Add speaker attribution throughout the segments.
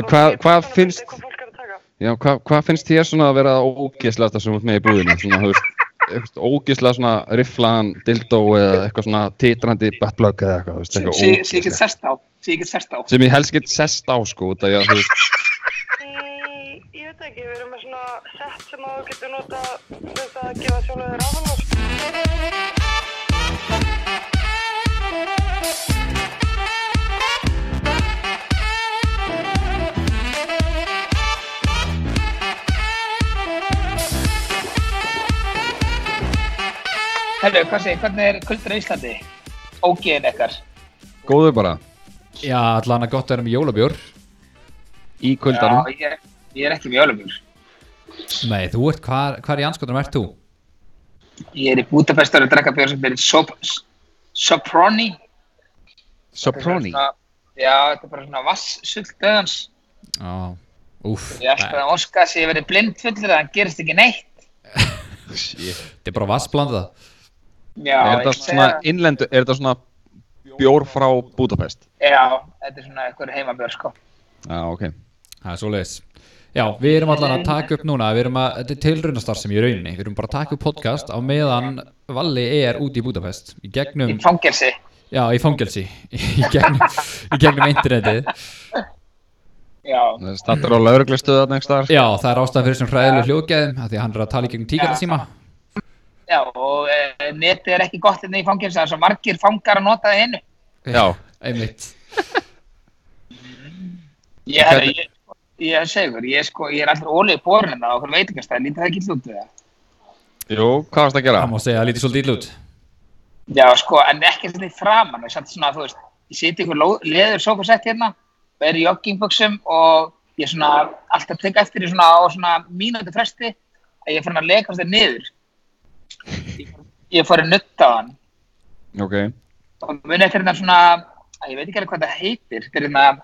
Speaker 1: Hvað, hvað Eh, finnst,
Speaker 2: Eitthvað fólk er að taka.
Speaker 1: já, hvað, hvað finnst þér svona að vera ógeðslega sem þú ert með í búðinu? Svona, þú veist, eitthvað ógeðslega svona rifflaðan dildó eða eitthvað svona titrandi buttplug eða eitthvað, þú veist,
Speaker 3: sem
Speaker 1: eitthvað
Speaker 3: sem- sem ég get
Speaker 1: ógeðslegt.
Speaker 3: sest á sem ég get sest á
Speaker 1: Sem ég helst get sest á, sko, út af ég, þú veist,
Speaker 2: Mm, Ég veit ekki, við erum með svona sett sem að þú getur nota þess að gefa sjálfur þér áfengar.
Speaker 3: Herru, hvað segir, hvernig er kuldur á Íslandi? Ógeðin ekkar
Speaker 1: góður bara,
Speaker 4: Já, allan að gott að vera með jólabjór.
Speaker 1: í kuldanum.
Speaker 3: ég, ég er ekki með jólumjör
Speaker 4: Nei, þú ert, hvar, hvar í anskotunum ert þú?
Speaker 3: Ég er í Budapest og er að drekka björn sem byrjir sop, s- Soproni
Speaker 1: Soproni.
Speaker 3: Svona- Já, þetta er bara svona vasssull döðans
Speaker 4: Já, úf,
Speaker 3: Ég ætlaði að Óskar sé að ég verið blindfullur að hann gerist ekki neitt
Speaker 1: Shit.
Speaker 4: þetta er bara vassblandað.
Speaker 3: Já,
Speaker 1: Er
Speaker 3: ég
Speaker 1: þetta
Speaker 3: segi
Speaker 1: svona innlendu, er þetta svona bjór frá Budapest?
Speaker 3: Já, þetta er svona einhver heimabjörn sko
Speaker 1: Já, ok.
Speaker 4: Það er svoleiðis. Já, við erum allan að taka upp núna, við erum að, þetta er tilraunastar sem ég rauninni, við erum bara að taka upp podcast á meðan Valli er úti í Budapest, í gegnum,
Speaker 1: Mm.
Speaker 3: Í fangelsi
Speaker 4: já, í fangelsi, í gegnum, í gegnum internetið.
Speaker 3: Já,
Speaker 1: Stattur á lauruglistuða þarna einhver staðar?
Speaker 4: Já, það er ástæðan fyrir þessum hræðilegu hljóðgæðum, af því að hann er að tala í gegnum tíkarasíma.
Speaker 3: já og e, netið er ekki gott hérna í fangelsi Það er svo margir fangar að nota það einu
Speaker 1: Já.
Speaker 4: Einmitt.
Speaker 3: Ég, herru,
Speaker 1: Hvernig-
Speaker 3: ég, ég segur, ég, sko, ég er allur ólið borinn hérna á okkur veitingastæði, lítið það ekki út við það.
Speaker 1: Jú, hvað varst að gera?
Speaker 4: Það má segja að það lítið svolítið illa út.
Speaker 3: Já, sko, en ekki svona í framann, ég satt svona, þú veist, ég siti ykkur ló- leður sofasett hérna, verið í joggingbuxum og ég er svona alltaf að teka eftir í svona á svona mínúti fresti að ég er farin að lekast þér niður. Ég- Ég er farin að nutta á hann
Speaker 1: Ok.
Speaker 3: og muni eftir hérna svona, að ég veit ekki alveg hvað það heitir, þetta er hérna,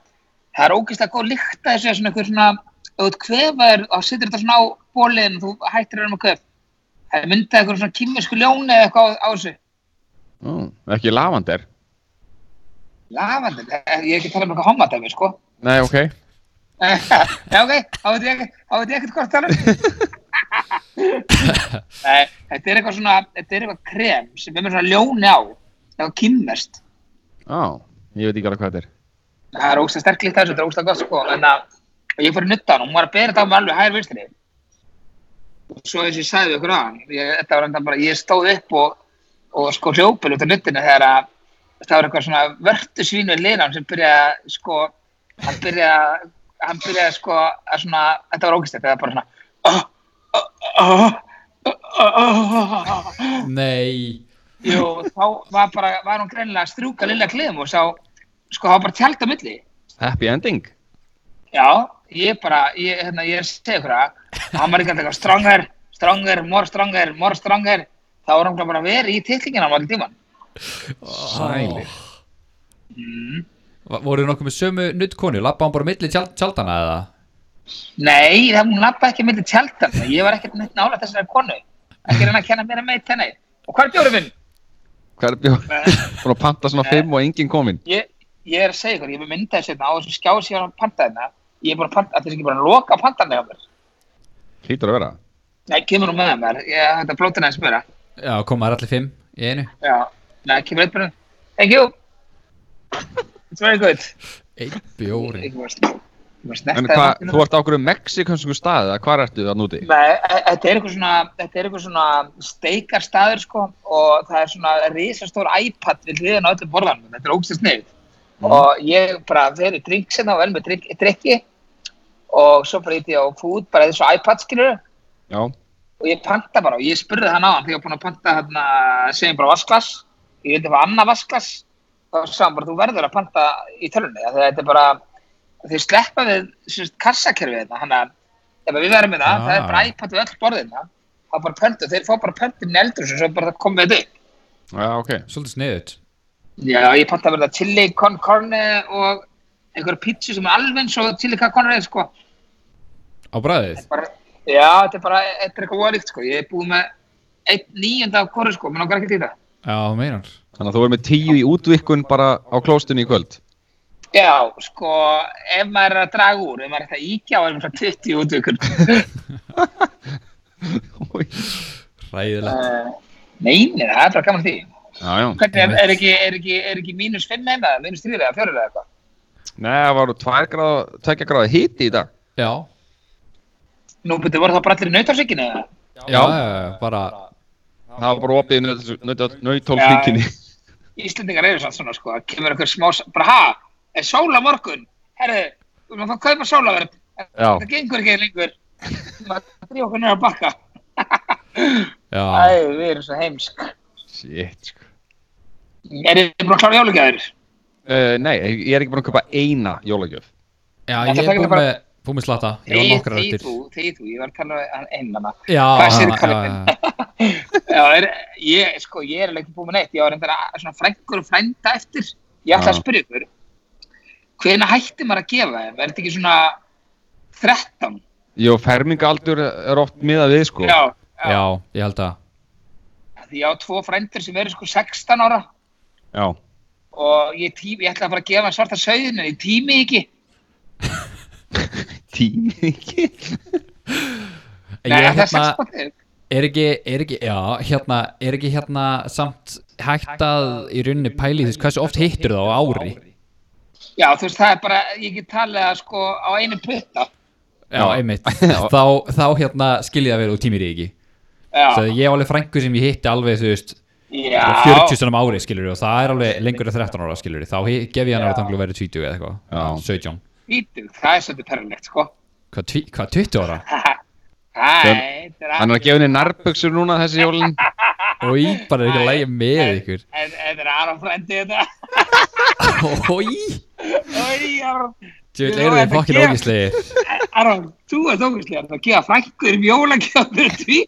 Speaker 3: það er ógeðslega góð lykt að þessu svona einhver svona, ef þú ert kvefaður og situr þetta svona á bóliðin og þú hættir að vera með kvef. Það er myndað eitthvað svona kýmversku ljóni eða eitthvað á, á þessu.
Speaker 1: Mm, ekki lavander?
Speaker 3: Lavandi, ég er ekki að tala um eitthvað homadæmi, sko.
Speaker 1: Nei, ok.
Speaker 3: Já, ok, þá veit ég ekki- þá veit ég ekkert hvað að tala um. Nei, þetta er eitthvað svona, þetta er eitthvað krem sem er með svona ljóni á, eitthvað kýmverst.
Speaker 1: Á, ég veit ekki alveg hvað þetta er.
Speaker 3: Það er ógst að sterk líkt þessu, þetta er ógst að gott sko, en að og ég fór að nutta hann og hún var að bera þetta á mig alveg hægir vinstri. Og svo eins og ég sagði við ykkur á hann, ég, þetta var enda bara, ég stóð upp og, og sko hljópil út af nuttinu þegar að það var eitthvað svona vörtu svínu liðan sem byrjaði að sko, hann byrjaði að, hann byrjaði að sko að svona, þetta var ógst þetta, var bara svona, oh, oh, oh, oh, oh, oh, oh.
Speaker 4: Nei,
Speaker 3: Jú, þá var bara, var hún greinilega að strjúka lilla kliðum og sá, sko, það var bara tjald á milli.
Speaker 1: Happy ending?
Speaker 3: Já, ég bara, ég, hérna, ég er að segja ykkur að hann var ekki alltaf eitthvað stronger, stronger, more stronger, more stronger þá var hann bara verið í titlingin hann var í tíman.
Speaker 1: Sælir.
Speaker 4: Ah. Va- voruð þið nokkuð með sömu nuttkonu, lappa hann bara milli tjald, tjaldana eða?
Speaker 3: Nei, það hún lappa ekki millir tjaldan, ég var ekkert neitt nála þessari konu, ekki reyna að kenna mér að meit henni. Og hvað er bjórið minn?
Speaker 1: Hvað er bjóð? Búin að panta svona fimm og enginn kominn.
Speaker 3: Ég, ég er að segja ykkur, ég er með myndaði sérna á þessum skjáð sem ég var að panta hérna, ég er búin að panta, að þessi ekki búin að loka pantanlega mér.
Speaker 1: Hlýtur að vera.
Speaker 3: Nei, kemur hún með það mér, ég, þetta blótir neins mér,
Speaker 4: Já, komaður allir fimm í einu.
Speaker 3: já, nei, kemur eitt bara, thank you, it's very good.
Speaker 4: Einn bjóri.
Speaker 3: Ég varst- ég varst
Speaker 1: En
Speaker 3: nektaði
Speaker 1: hvað,
Speaker 3: vatninu.
Speaker 1: þú ert á okkur um mexikansku staðið, eða hvað ertu það núti?
Speaker 3: Nei, e- þetta er eitthvað svona, þetta er eitthvað svona steikarstaður sko og það er svona risastór iPad við hliðin á öllum borðanum, þetta er ógstast neyð.
Speaker 1: Mhm.
Speaker 3: Og ég bara verið drink sinna og vel með drink, drikki og svo bara ít ég á food, bara þessu iPad skilur
Speaker 1: Já.
Speaker 3: og ég panta bara og ég spurði hann á hann þegar ég var búinn að panta hérna, segjum bara vasklas, ég veit eitthvað annað vasklas, þá sagði hann bara þú verður að panta í tölunni, af því að þetta er bara, þeir sleppa við sérst, kassakerfið þetta, hann að ef að við verðum með það,
Speaker 4: Ah.
Speaker 3: það er bara iPad við öll borðina, þá bara pöntu, þeir fá bara pöntu í eldur og svo bara komum við þetta upp.
Speaker 1: Já, ok.
Speaker 4: Svolítið sniðut.
Speaker 3: Já, ég panta verða chili con carne og einhverja pítsu sem er alveg eins og chili con carne, sko.
Speaker 4: Á bræðið.
Speaker 3: bara, já, þetta er bara, þetta er eitthvað ólíkt, sko, ég er búið með einn nýjönda af hverju, sko, menn okkar ekki til það.
Speaker 4: Já, þú meinar.
Speaker 1: Þannig að þú er með tíu í útvikkun bara á klóstunni í kvöld.
Speaker 3: Já, sko, ef maður er að draga úr, ef maður er eftir að íkja á einhvern svona 20 útvikur.
Speaker 4: Ræðilegt.
Speaker 3: Uh, nei, nei, það er bara gaman að því.
Speaker 1: Já, já.
Speaker 3: Hvernig er,
Speaker 4: Einmitt.
Speaker 3: er, ekki, er, ekki, er ekki mínus 5 eða mínus 3 eða 4 eða eitthvað?
Speaker 1: Nei, það var tvekja gráði hiti í dag.
Speaker 4: Já,
Speaker 3: Nú betur voru það bara allir í nautarsvíkinu eða?
Speaker 4: já, já, já, bara,
Speaker 1: Það var bara opið í nautólsvíkinni.
Speaker 3: Íslendingar eru samt svona, sko, það kemur einhver smá, s- bara ha, er sól á morgun? Herðu, við erum að fá að kaupa sólaverð,
Speaker 1: Já,
Speaker 3: það gengur ekki lengur. Það dríf okkur nefnir að bakka. Æ,
Speaker 4: já,
Speaker 3: við erum svo heimsk.
Speaker 1: shit, sko.
Speaker 3: Er þið búin að klára jólugjæðir?
Speaker 1: Uh, nei, ég er ekki búin að kaupa eina jólagjöf.
Speaker 4: já,
Speaker 3: Þetta
Speaker 4: ég er
Speaker 3: tekur
Speaker 4: búinn
Speaker 3: bara-
Speaker 4: með, búinn með slata, ég var
Speaker 3: Þegi
Speaker 4: nokkrar
Speaker 3: þegi
Speaker 4: eftir.
Speaker 3: þú, þegi þú, ég var að tala um einmanna.
Speaker 4: Já,
Speaker 3: Hvað segir
Speaker 4: hana,
Speaker 3: Kalli?
Speaker 4: já, já, já.
Speaker 3: Já, er, ég, sko, ég er alveg ekki búinn með neitt. Ég var reyndar að- svona frængur og frænda eftir. Ég ætla að
Speaker 1: Já.
Speaker 3: spyrja ykkur, hvena hætti maður að gefa þeim? Er þetta ekki svona 13?
Speaker 1: Jó, fermingaldur er oft miðað við, sko.
Speaker 3: Já,
Speaker 4: já, ég held að,
Speaker 3: því ég á tvo frændur sem eru sko 16 ára
Speaker 1: Já.
Speaker 3: og ég, tí, ég ætla að fara að gefa þeim svarta sauðin en ég tími ekki.
Speaker 1: Tími ekki.
Speaker 4: ég
Speaker 3: Nei, það er
Speaker 4: hérna-
Speaker 3: 16 ára.
Speaker 4: Er ekki, er ekki, já, hérna, er ekki hérna samt hægt að í rauninni pæli þess, hversu oft hittir það á ári?
Speaker 3: Já, þú veist, það er bara, ég get talið að sko á einu putta.
Speaker 4: Já,
Speaker 1: Já.
Speaker 4: einmitt, þá, þá hérna skilja það vel og tímir þig ekki.
Speaker 3: Já,
Speaker 4: Það ég hef alveg frængu sem ég hitti alveg, þú veist,
Speaker 3: já.
Speaker 4: 40 sinum ári skilur og það er alveg lengur en 13 ára skilur þá hi- gef ég hann
Speaker 3: Já.
Speaker 4: alveg þannig að vera 20 eða eitthvað,
Speaker 1: Já.
Speaker 4: 17.
Speaker 3: Vítug, það er svolítið perlilegt, sko.
Speaker 4: Hvað, tví- hvað, 20 ára?
Speaker 3: Æ, þetta
Speaker 1: Hann er að gefa henni nærböksur núna þessi jólinn.
Speaker 4: Og ég bara er ekki að lægja með ykkur.
Speaker 3: En- en Þetta er Aron hérna? frendi þetta.
Speaker 4: Ói,
Speaker 3: Oi, Aron.
Speaker 4: þú
Speaker 3: Nú er
Speaker 4: veit, eru þið
Speaker 3: þetta
Speaker 4: fokkin
Speaker 3: gert.
Speaker 4: ógíslegir.
Speaker 3: Aron, þú ert ógustlega að gefa frængur um jólagjöfnir því.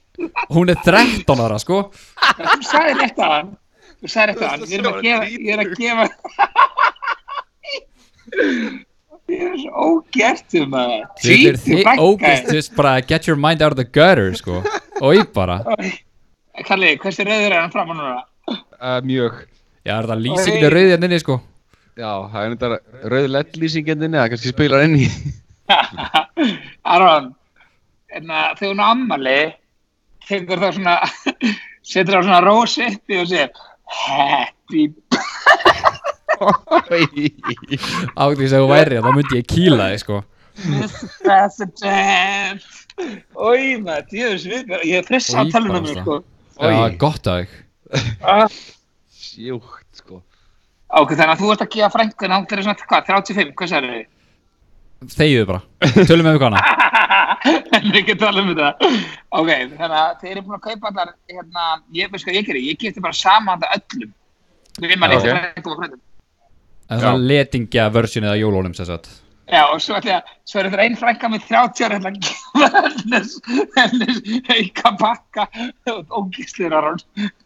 Speaker 4: Hún er 13 ára, sko.
Speaker 3: Þú sagði rétt að hann. Þú sagði rétt að hann. Ég er að gefa, ég er að gefa. Ég er svo um ógertum maður.
Speaker 4: Þið eru
Speaker 3: Tvítu
Speaker 4: þið ógist, þú
Speaker 3: frængur.
Speaker 4: veist bara get your mind out of the gutter sko Og ég bara,
Speaker 3: hérna. Kalli, hversu rauður er hann fram á núna?
Speaker 1: Uh, mjög.
Speaker 4: já er það lýsinginu rauðið hérna inni sko
Speaker 1: Já, það er þetta rauðlettlýsingendinni, hérna það kannski spilar enni.
Speaker 3: Aron, enna, þegar hún á ammali, tekur það svona, setur það svona rósi upp í og segir, happy
Speaker 4: Ágríðis að þú væri, hérna, þá myndi ég kýla þig sko
Speaker 3: Mr. President Ói maður, djöfus við Ég er friss á
Speaker 4: Oj,
Speaker 3: talunum
Speaker 4: bara.
Speaker 3: sko.
Speaker 4: Já,
Speaker 1: Oj.
Speaker 4: gott af þig
Speaker 3: Ah,
Speaker 1: Sjúkt, sko.
Speaker 3: Ok, þannig að þú ert að gefa frængun Hann er svona, hvað, 35, hvað sagður þið?
Speaker 4: Þegiðu bara, tölum við um hana
Speaker 3: En við getum talað um þetta Ok, þannig að þeir eru búin að kaupa allar hérna, Ég veist hvað ég gerir, ég geti bara saman það öllum Við mann
Speaker 1: Já, ok.
Speaker 3: eitthvað frængum og frængum
Speaker 4: En svona letingja versjónið af jólólum sér satt
Speaker 3: Já, og svo, ætla, ég- svo er þetta einn frænga með 30 ára ætla að gefa hennes, hennes auka bakka og ógislir á rón.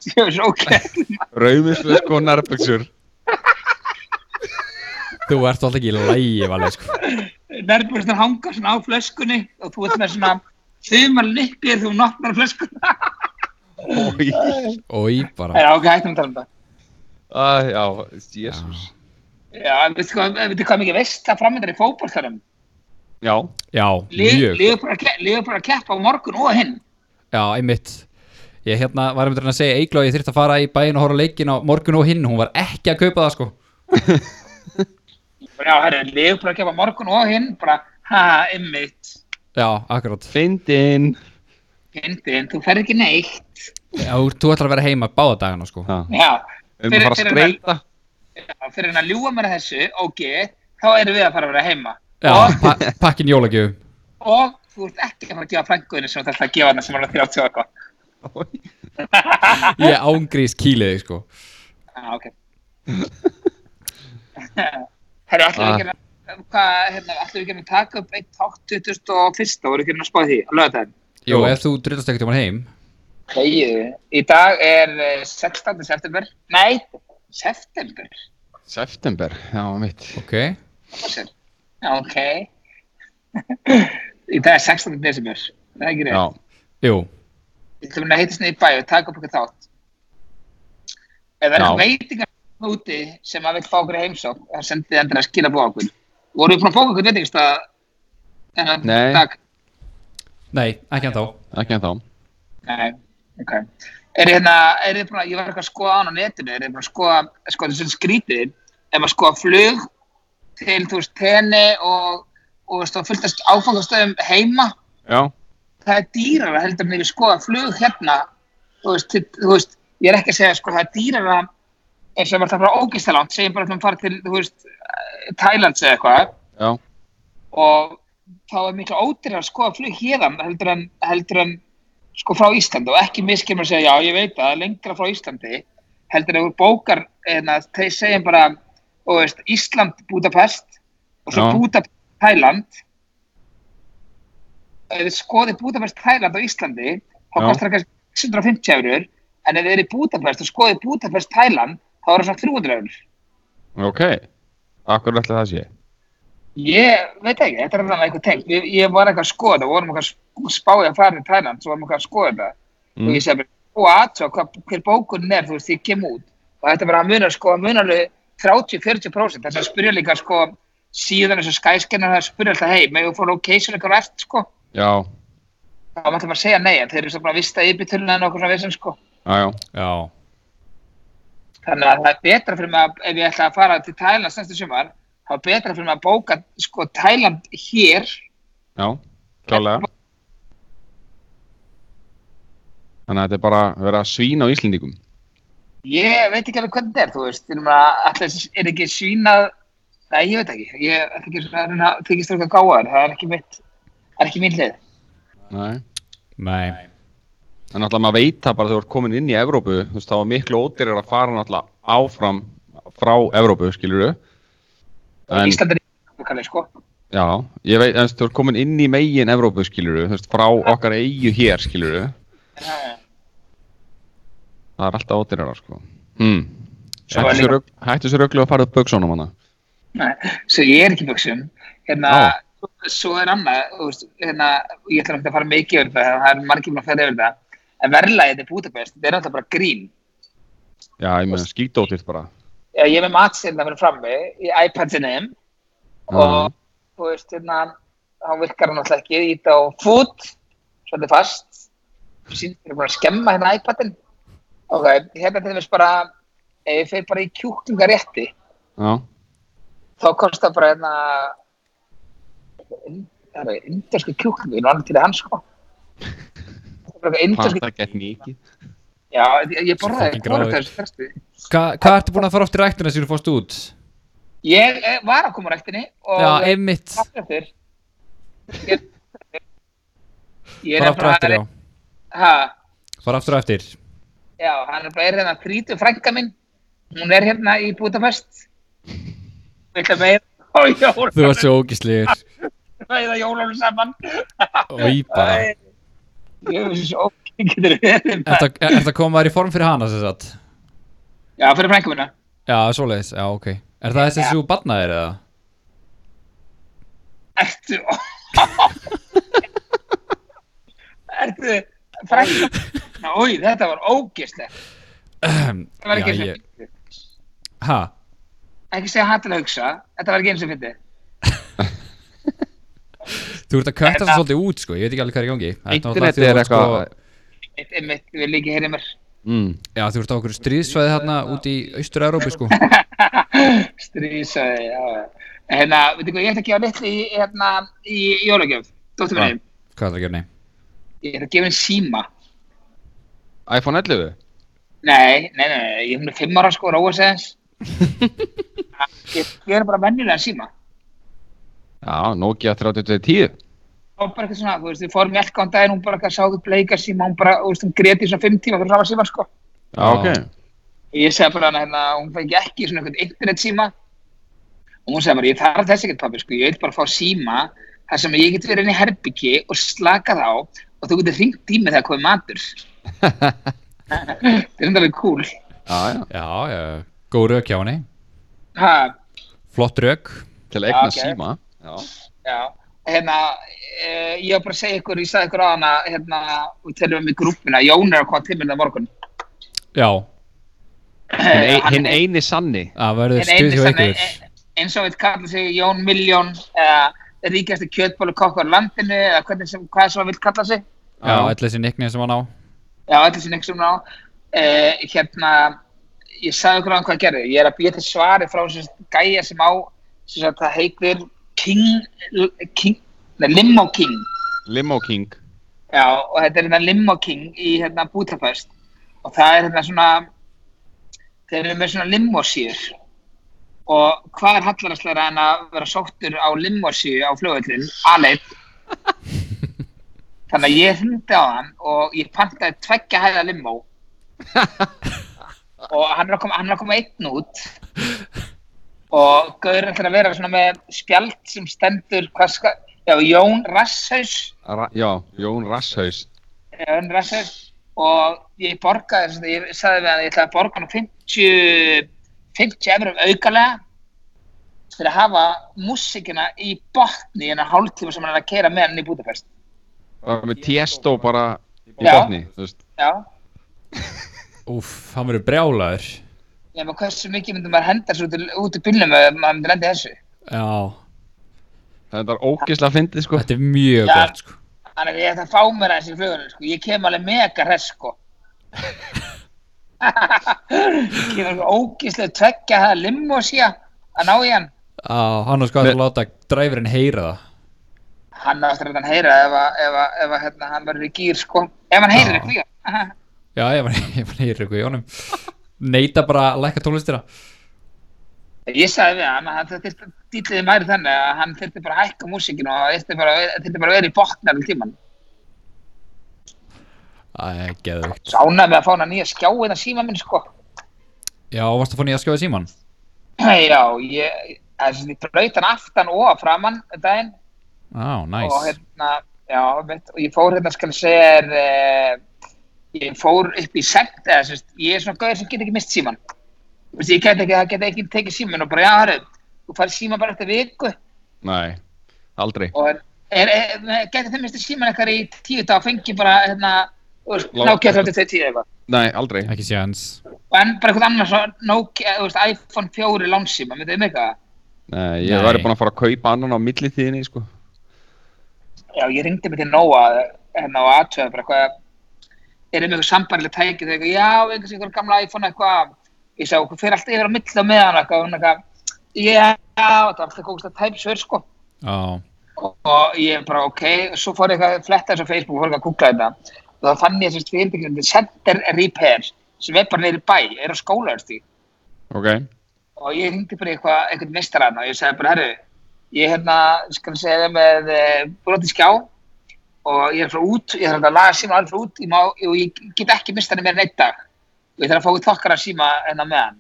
Speaker 3: Ég er svo ógæðið.
Speaker 1: Rauðmislu, sko, nærböksur.
Speaker 4: Þú ert alltaf ekki í lægi valið sko
Speaker 3: nærbúrstur hanga svona á flöskunni og þú ert með svona þumar lippir þú notnar flöskuna.
Speaker 1: Ói.
Speaker 4: Og ég bara,
Speaker 3: Já, ok, hættum að tala um það.
Speaker 1: Ah, já, jésús.
Speaker 3: Já, en veistu hvað, veitu hvað mikið veist það framöndar í fótboltanum?
Speaker 1: Já.
Speaker 4: já, mjög
Speaker 3: Liður bara að keppa á morgun og hinn.
Speaker 4: Já, einmitt Ég hérna var einmitt að reyna að segja Eigló að ég þyrfti að fara í bæinn og horfa á leikinn á morgun og hinn Hún var ekki að kaupa það sko
Speaker 3: Já, herru, liður bara að keppa á morgun og hinn, bara, ha, ymmit,
Speaker 4: Já, akkurat
Speaker 1: Fyndin.
Speaker 3: hindin, þú fer ekki neitt.
Speaker 4: Já, þú ætlar að vera heima báða dagana sko
Speaker 1: Já.
Speaker 3: Já,
Speaker 1: Við erum að fara að skreita.
Speaker 3: að- fyrir hann að ljúa mér að þessu, ok, þá erum við að fara að vera heima.
Speaker 4: Já,
Speaker 3: Og,
Speaker 4: pa pakkin jólagjöfum
Speaker 3: og þú ert ekki að fara að gefa frænguðinu sem þú ætlar að gefa hann sem hann er 30 og eitthvað.
Speaker 4: Ég ángrís kýliði sko
Speaker 3: Já, Ah, ok. Herru, ætlum við ekki að, hvað, hérna, ætlum við ekki að taka upp einn þátt 2001, þá voru ekki að spáði því, á lögadaginn.
Speaker 4: Jó,
Speaker 1: Jú.
Speaker 4: ef þú drillast ekkert um hann heim
Speaker 3: Þegiðu. Í dag er eh, 16. september, nei, september,
Speaker 1: September, já, mitt.
Speaker 4: Ok,
Speaker 3: hvað sér? Já, ok. Í dag er 16. desember, það er ekki
Speaker 1: Já.
Speaker 3: reynd.
Speaker 4: jú,
Speaker 3: Við ætlum að heitast niður í bæ og taka upp eitthvað þátt. Eða
Speaker 1: Já.
Speaker 3: er eitthvað veitingar, úti sem að vil fá okkur í heimsókn það sendið endur að skila búið okkur voru við búin að bóka okkur veitingast að þennan
Speaker 1: Nei.
Speaker 3: dag?
Speaker 4: Nei, ekki en þá
Speaker 1: ekki en þá.
Speaker 3: Nei, ok. Er þið hérna, er þið búin að, ég var eitthvað að skoða án á netinu, er þið búin að skoða, sko þessum skrítið, ef maður skoða flug til, þú veist, tenni og, og veist, og fullt að áfangastöðum heima,
Speaker 1: Já,
Speaker 3: það er dýrara heldur mér að skoða flug hérna, þú veist, til, þú veist, ég er ekki að segja, sko, það er dýrara eins og ef maður það frá ógistaland, segjum bara að maður fara til, þú veist, Thailands eða eitthvað,
Speaker 1: já,
Speaker 3: og þá er mikla ódýrar að skoða flug hérðan heldur en, heldur en sko frá Íslandi og ekki miskir maður að segja já ég veit að það er lengra frá Íslandi heldur en þú bókar en að þeir segjum bara og veist, Ísland Budapest og svo
Speaker 1: Já.
Speaker 3: Budapest Thailand ef þið skoðið Budapest Thailand á Íslandi þá
Speaker 1: Já.
Speaker 3: kostar það kannski 650 eurur en ef þið eru í Budapest og skoðið Budapest Thailand þá er það svona 300 eurur
Speaker 1: ok. Akkur ætla það sé.
Speaker 3: Ég veit ekki, þetta er alveg eitthvað tengt. Ég, ég var eitthvað að skoða þetta, vorum eitthvað að spáði að fara í Thailand, svo vorum eitthvað að skoða þetta. Og
Speaker 1: Mm.
Speaker 3: ég segi bara, og aðtjóða hvað, hver bókun er, þú veist, ég kem út. Og þetta var að muna, sko, að muna alveg 30-40%. Þess að spyrja líka, sko, síðan þessu skæskennar, það spyrja alltaf, hei, megum við fór location eitthvað eftir, sko.
Speaker 1: Já,
Speaker 3: Þá mætti maður segja nei, en þeir eru svo bara að vista yfirbyrtunna en okkur svona vissin, sko.
Speaker 1: já, já,
Speaker 4: Já,
Speaker 3: Þannig að það er betra fyrir mig að, ef ég ætla að fara til Thailand næsta sumar, þá er betra fyrir mig að bóka, sko, Thailand hér,
Speaker 1: já, klálega. Þannig að þetta er bara að vera svín á Íslendingum.
Speaker 3: Ég veit ekki alveg hvernig þetta er, þú veist, þegar maður alltaf er ekki svínað, nei, ég veit ekki, ég ætla ekki svona að reyna að þykist þrjóka gáðar, það er ekki mitt, það er ekki mín hlið.
Speaker 1: Nei.
Speaker 4: nei
Speaker 1: En náttúrulega maður veit það bara þegar þú ert komin inn í Evrópu, þú veist, þá er miklu ódýrar að fara náttúrulega áfram frá Evrópu, skilur við. En,
Speaker 3: Ísland er ekki kallið, sko.
Speaker 1: já, ég veit, en þú veist, þú ert komin inn í megin Evrópu, skilur við, þú veist, frá okkar eigu hér, skilur við.
Speaker 3: sko.
Speaker 1: Það er alltaf ódýrar, sko. Hmm.
Speaker 3: Svo
Speaker 1: Hættu
Speaker 3: er
Speaker 1: þessu rugl- hættu þessu rögglu að fara upp buksónum hana.
Speaker 3: Nei, svo ég er ekki í buksum, hérna,
Speaker 1: Á.
Speaker 3: svo er annað, þú veist, hérna, ég ætla ekki að fara mikið yfir það, það er margir mér að fara yfir það, en verðlæðið er Budapest, þetta er náttúrulega bara grín.
Speaker 1: Já, ég meina, skítótilt bara.
Speaker 3: Já, ég er með matsilna fyrir frammi í iPad-sinni
Speaker 1: Já.
Speaker 3: og þú veist, hérna, hann virkar hann alltaf ekki, ít á foot, svolítið fast, síðan er bara að skemma hérna iPadin. Ok, hérna til þess bara, ef ég fer bara í kjúklingarétti,
Speaker 1: Já,
Speaker 3: þá kostar bara hérna, in- það er indversku kjúklingu, ég er nú annað til að hann sko. Það er bara
Speaker 1: hvað
Speaker 3: indversku,
Speaker 1: það gett mikið.
Speaker 3: já, ég- ég borðaði,
Speaker 4: Fucking
Speaker 3: hvorað
Speaker 4: gráður.
Speaker 3: þessu fyrstu.
Speaker 4: Hva, Hvað ertu búin að fara oft í ræktina síðan þú fórst út?
Speaker 3: Ég eh, var að koma úr ræktinni og...
Speaker 4: Já, einmitt
Speaker 3: aftur eftir Ég- ég hérna
Speaker 4: Fara aftur á eftir, já
Speaker 3: ha,
Speaker 4: Fara aftur á eftir
Speaker 3: já, hann er bara er hérna þrítu frænka minn hún er hérna í Budapest vill að meira á jólun
Speaker 4: Þú ert svo ógislegur
Speaker 3: meira jólun saman
Speaker 4: Og í bara
Speaker 3: Æ, ég veist svo ókei getur verið
Speaker 4: Ertu að- ertu að koma þér í form fyrir hana sem sagt?
Speaker 3: já, fyrir frænka minna
Speaker 4: Já, svoleiðis, já ok Er það þessi sem þú barnaðir eða?
Speaker 3: ertu ertu frænka Ná, új, þetta var ógislegt það var ekki
Speaker 4: Já,
Speaker 3: eins og
Speaker 4: ég- Ha?
Speaker 3: ekki segja hann til að hugsa þetta var ekki eins og fyndið
Speaker 4: Þú ert að kötta það
Speaker 3: Þetta-
Speaker 4: svolítið út sko, ég veit ekki alveg hvað er í gangi Þetta náttúrulega
Speaker 1: Internet
Speaker 4: því að
Speaker 1: er
Speaker 4: þú ert, sko-
Speaker 1: eitthvað-
Speaker 3: Einmitt, einmitt, við líka heyrið mér.
Speaker 1: Mm.
Speaker 4: Já, þú ert á okkur stríðsvæði þarna út í Austur-Európi sko
Speaker 3: Strísaði, já. En Hérna, veitu hvað, ég ætla að gefa litli í, hérna, í jólagjöf, dóttur minni.
Speaker 4: Hvað er það að gera, nei?
Speaker 3: Ég ætla að gefa henni síma.
Speaker 1: iPhone 11?
Speaker 3: Nei, nei, nei, nei, ég hún er fimm ára sko, róa sig aðeins. ég gera bara venjulega síma.
Speaker 1: Já, Nokia 3210.
Speaker 3: Það var bara eitthvað svona, þú veist, við fórum í elka á daginn, hún bara eitthvað sáðu bleika síma, hún bara, þú veist, hún greti í svona fimm tíma fyrir sama síma, sko.
Speaker 1: Já, ok.
Speaker 3: Og ég segi bara hana, hérna, hún fengi ekki svona einhvern internet síma. Og hún segi bara, ég þarf þess ekkert pappi, sko, ég vil bara fá síma þar sem ég get verið inn í herbyggi og slakað á og þú getur hringt í mig þegar komið matur. Þetta er enda alveg cool.
Speaker 1: Já, já.
Speaker 4: Já, já, góð rauk hjá henni
Speaker 3: Ha,
Speaker 4: Flott rauk
Speaker 1: Til að egna
Speaker 3: Já, ok.
Speaker 1: síma. Já.
Speaker 3: já. Hérna, e, ég var bara að segja ykkur, ég sagði ykkur á hana, hérna, og telum um í grúppuna, Jón er að koma til minna morgun.
Speaker 4: Já,
Speaker 1: Hinn ein,
Speaker 3: Hann-
Speaker 1: hin eini sanni.
Speaker 4: Það verður
Speaker 3: En einu
Speaker 4: stuð hjá
Speaker 3: sem-
Speaker 4: ykkur.
Speaker 3: e- eins og við kalla sig Jón Miljón eða ríkjasti kjötbólu kokkur á landinu eða hvernig sem, hvað sem hann vil kalla sig
Speaker 4: Já, öll þessi nicknið sem hann á.
Speaker 3: já, allir sinni ykkur sem ná eh, hérna, ég sagði ykkur á hann hvað gerði ég er að býja til svari frá sem sagt gæja sem á sem sagt, það heitir King, King nei, Limo King
Speaker 1: Limo King.
Speaker 3: já, og þetta er hérna Limo King í hérna Budapest og það er hérna svona þeir eru með svona limosýr og hvað er hallarastlega en að vera sóttur á limosýr á flugvöldin, aðleitt þannig að ég hringdi á hann og ég pantaði tveggja hæða limó og hann er að koma, hann er að koma einn út og Gaur ætlar að vera svona með spjald sem stendur hvað ska, já, Jón Rasshaus
Speaker 1: Ra já, Jón Rasshaus.
Speaker 3: Jón Rasshaus og ég borgaði, sem sagt, ég sagði við hann að ég ætlaði að borga hann 50 50 efrum aukalega fyrir að hafa músikina í botni en að hálftíma sem hann er að keira með hann í Budapest
Speaker 1: Það var með Tiesto bara í
Speaker 3: Já.
Speaker 1: botni. þú veist.
Speaker 3: já, Úff,
Speaker 4: Úff, hann verður brjálaður.
Speaker 3: nema hversu mikið myndum maður henda þessu út, í- út í bílnum ef maður myndi lendi þessu
Speaker 4: Já,
Speaker 1: Þetta er ógislega fyndið sko.
Speaker 4: þetta er mjög
Speaker 3: Já.
Speaker 4: gott, sko.
Speaker 3: Þannig að ég ætla að fá mér aðeins í flugunum, sko. Ég kem alveg mega hress, sko. ég kem alveg ógíslega tveggja það limmo síðan að ná í hann.
Speaker 4: Já, hann er sko að
Speaker 1: Nei.
Speaker 4: láta dræfurinn heyra það.
Speaker 3: Hann áttur að hann heyra ef, að, ef, að, ef að, hérna, hann verður í gýr, sko. Ef hann heyrir
Speaker 4: Já.
Speaker 3: eitthvað, já.
Speaker 4: Já, ég var, ég var heyra ykkur í honum. Neita bara að lækka tónlistina.
Speaker 3: Ég sagði við hann að það þyrfti dýtliði mæri þannig að hann þyrfti bara að hækka músikinu og það þyrfti bara, það þyrfti bara að vera í botni alveg tíman.
Speaker 4: Það er geðvögt.
Speaker 3: Sánaði með að fá hann að nýja skjáin að síma minn, sko.
Speaker 4: Já, varstu að fá nýja skjóða síman?
Speaker 3: já, ég, þess að ég braut hann aftan og að framann daginn.
Speaker 4: Já, næs.
Speaker 3: og hérna, já, mitt, og ég fór hérna, skal ég segja er, eh, ég fór upp í sekt, eða sérst, ég er svona gauður sem get ekki mist síman. Þú veist, ég get ekki, það get ekki tekið síman og bara, já, hörru, þú farið síman bara eftir viku
Speaker 1: Nei, aldrei.
Speaker 3: og er, er, er getið þið mistið síman eitthvað í tíu dag og fengið bara, hérna, þú veist,
Speaker 1: Lá-
Speaker 3: Nokia 3310 eitthvað.
Speaker 1: Nei, aldrei.
Speaker 4: Ekki séans.
Speaker 3: Og enn bara eitthvað annars, Nokia, þú veist, iPhone 4 lánsíma, myndið um eitthvað?
Speaker 1: Nei, ég
Speaker 4: Nei.
Speaker 1: væri búin að fara að kaupa annan á millitíðinni sko.
Speaker 3: Já, ég ringdi mig til Nóa hérna og aðtöða bara hvað erum eitthvað sambarlega tæki þegar já, einhvers einhver gamla iPhone eitthvað ég sagði okkur fyrir alltaf yfir á milli á meðan eitthvað og hún eitthvað já, þetta var alltaf kókast að tæmsvör sko
Speaker 4: Já,
Speaker 3: og, og ég bara ok, og svo fór ég eitthvað að fletta þessu á Facebook og fór eitthvað að googla þetta og þá fann ég þessi fyrirbyggjandi Center Repair sem er bara neyri bæ, er á skólaversti
Speaker 1: Ok.
Speaker 3: og ég hringdi bara í eitthvað, eitthvað mistarann og ég sagði bara, herru, ég hérna, skal ég segja þér með e, broti skjá og ég er frá út, ég þarf að laga síma alveg frá út ég má, og ég get ekki mista hann meira en einn dag og ég þarf að fá þokkar að síma hennar með hann.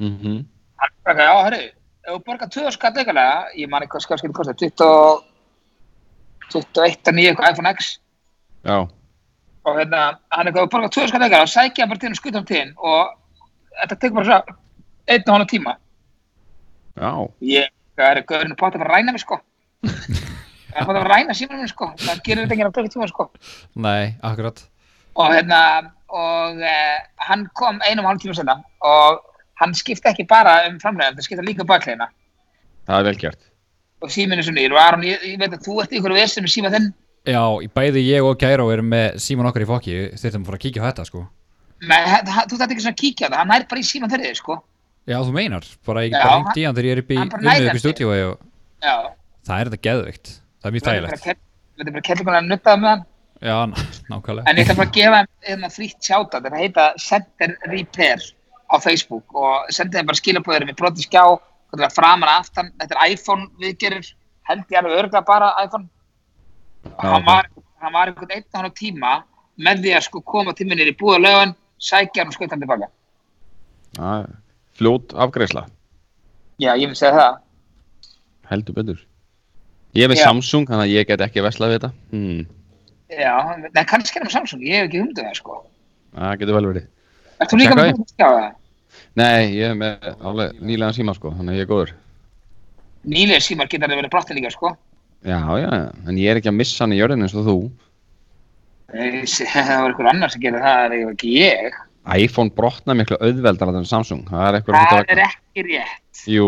Speaker 1: Mm -hmm.
Speaker 3: Hann bara, eitthvað, já, herru, ef þú borgar 2000 skall leikalega, ég man ekki hvað skjáskil kostar, 20 21 að 9 eitthvað iPhone X
Speaker 1: Já.
Speaker 3: og hérna, hann er eitthvað, borgar 2000 skall leikalega og sækja hann bara til hann skutum til hann og þetta tekur bara svo einn og hálf tíma
Speaker 1: Já.
Speaker 3: Ég, það er gaurinu pátt að fara að ræna mig sko. Það er pátt að fara að ræna símanum minn sko. Það gerir þetta ekki á klukkutíma sko.
Speaker 4: nei, akkurat.
Speaker 3: Og hérna, og eh, hann kom einum hálf tíma senna og hann skipti ekki bara um framlegðan, það skipti líka um baklegina.
Speaker 1: Það er vel gert.
Speaker 3: Og síminu svo nýr og Aron, ég, ég veit að þú ert í ykkur vesum með síma þinn.
Speaker 4: Já, bæði ég og Kæró erum með síman okkar í fokki. Þurftum að fara að kíkja á þetta, sko.
Speaker 3: Nei, hann- þú þarf ekki svona að kíkja á það, hann nær bara í síman þeirrið sko.
Speaker 4: Já, þú meinar. Bara ég
Speaker 3: Já,
Speaker 4: bara
Speaker 3: hann-
Speaker 4: hengt í hann þegar ég er upp í
Speaker 3: hann bara
Speaker 4: vinnu
Speaker 3: nær
Speaker 4: upp í
Speaker 3: þessu.
Speaker 4: stúdíu og
Speaker 3: Já.
Speaker 4: það er þetta geðvögt. Það er mjög
Speaker 3: Þetta er bara
Speaker 4: þægilegt.
Speaker 3: kell- þetta er bara kellingunar að nuttaða með hann.
Speaker 4: Já, ná- nákvæmlega.
Speaker 3: En ég ætla bara að gefa þeim hérna frítt sjáta, þetta heita Center Repair á Facebook og sendið þeim bara skilabóður með broti skjá, hvernig það framar að aftan, þetta er iPhone viðgerir, held ég alveg örgla bara iPhone. Og
Speaker 1: Já,
Speaker 3: hann
Speaker 1: ok.
Speaker 3: var, hann var einhvern einn og hann tíma með því að sko koma til minni í búðalögun, sækja hann og skauta hann tilbaka.
Speaker 1: Það er Fljót afgreisla.
Speaker 3: Já, ég myndi segja það.
Speaker 1: Heldur betur. Ég er með
Speaker 3: Já.
Speaker 1: Samsung, þannig að ég get ekki veslað við þetta. Hmm.
Speaker 3: Já, nei, kannski er hann með Samsung, ég hef ekki humduð það sko.
Speaker 1: Það getur vel verið.
Speaker 3: Ert þú líka
Speaker 1: Sjekkaðu.
Speaker 3: með broti skjá það?
Speaker 1: Nei, ég er með alveg nýlegan síma sko, þannig að ég er góður.
Speaker 3: Nýlega símar geta það verið brottin líka sko.
Speaker 1: Já, já, en ég er ekki að missa hann í jörðin eins og þú.
Speaker 3: Nei, Það var einhver annar sem gerir það, það er ekki ég.
Speaker 1: Æ, iPhone brotna miklu auðveldar en Samsung, það er eitthvað
Speaker 3: það er ekki rétt
Speaker 1: Jú,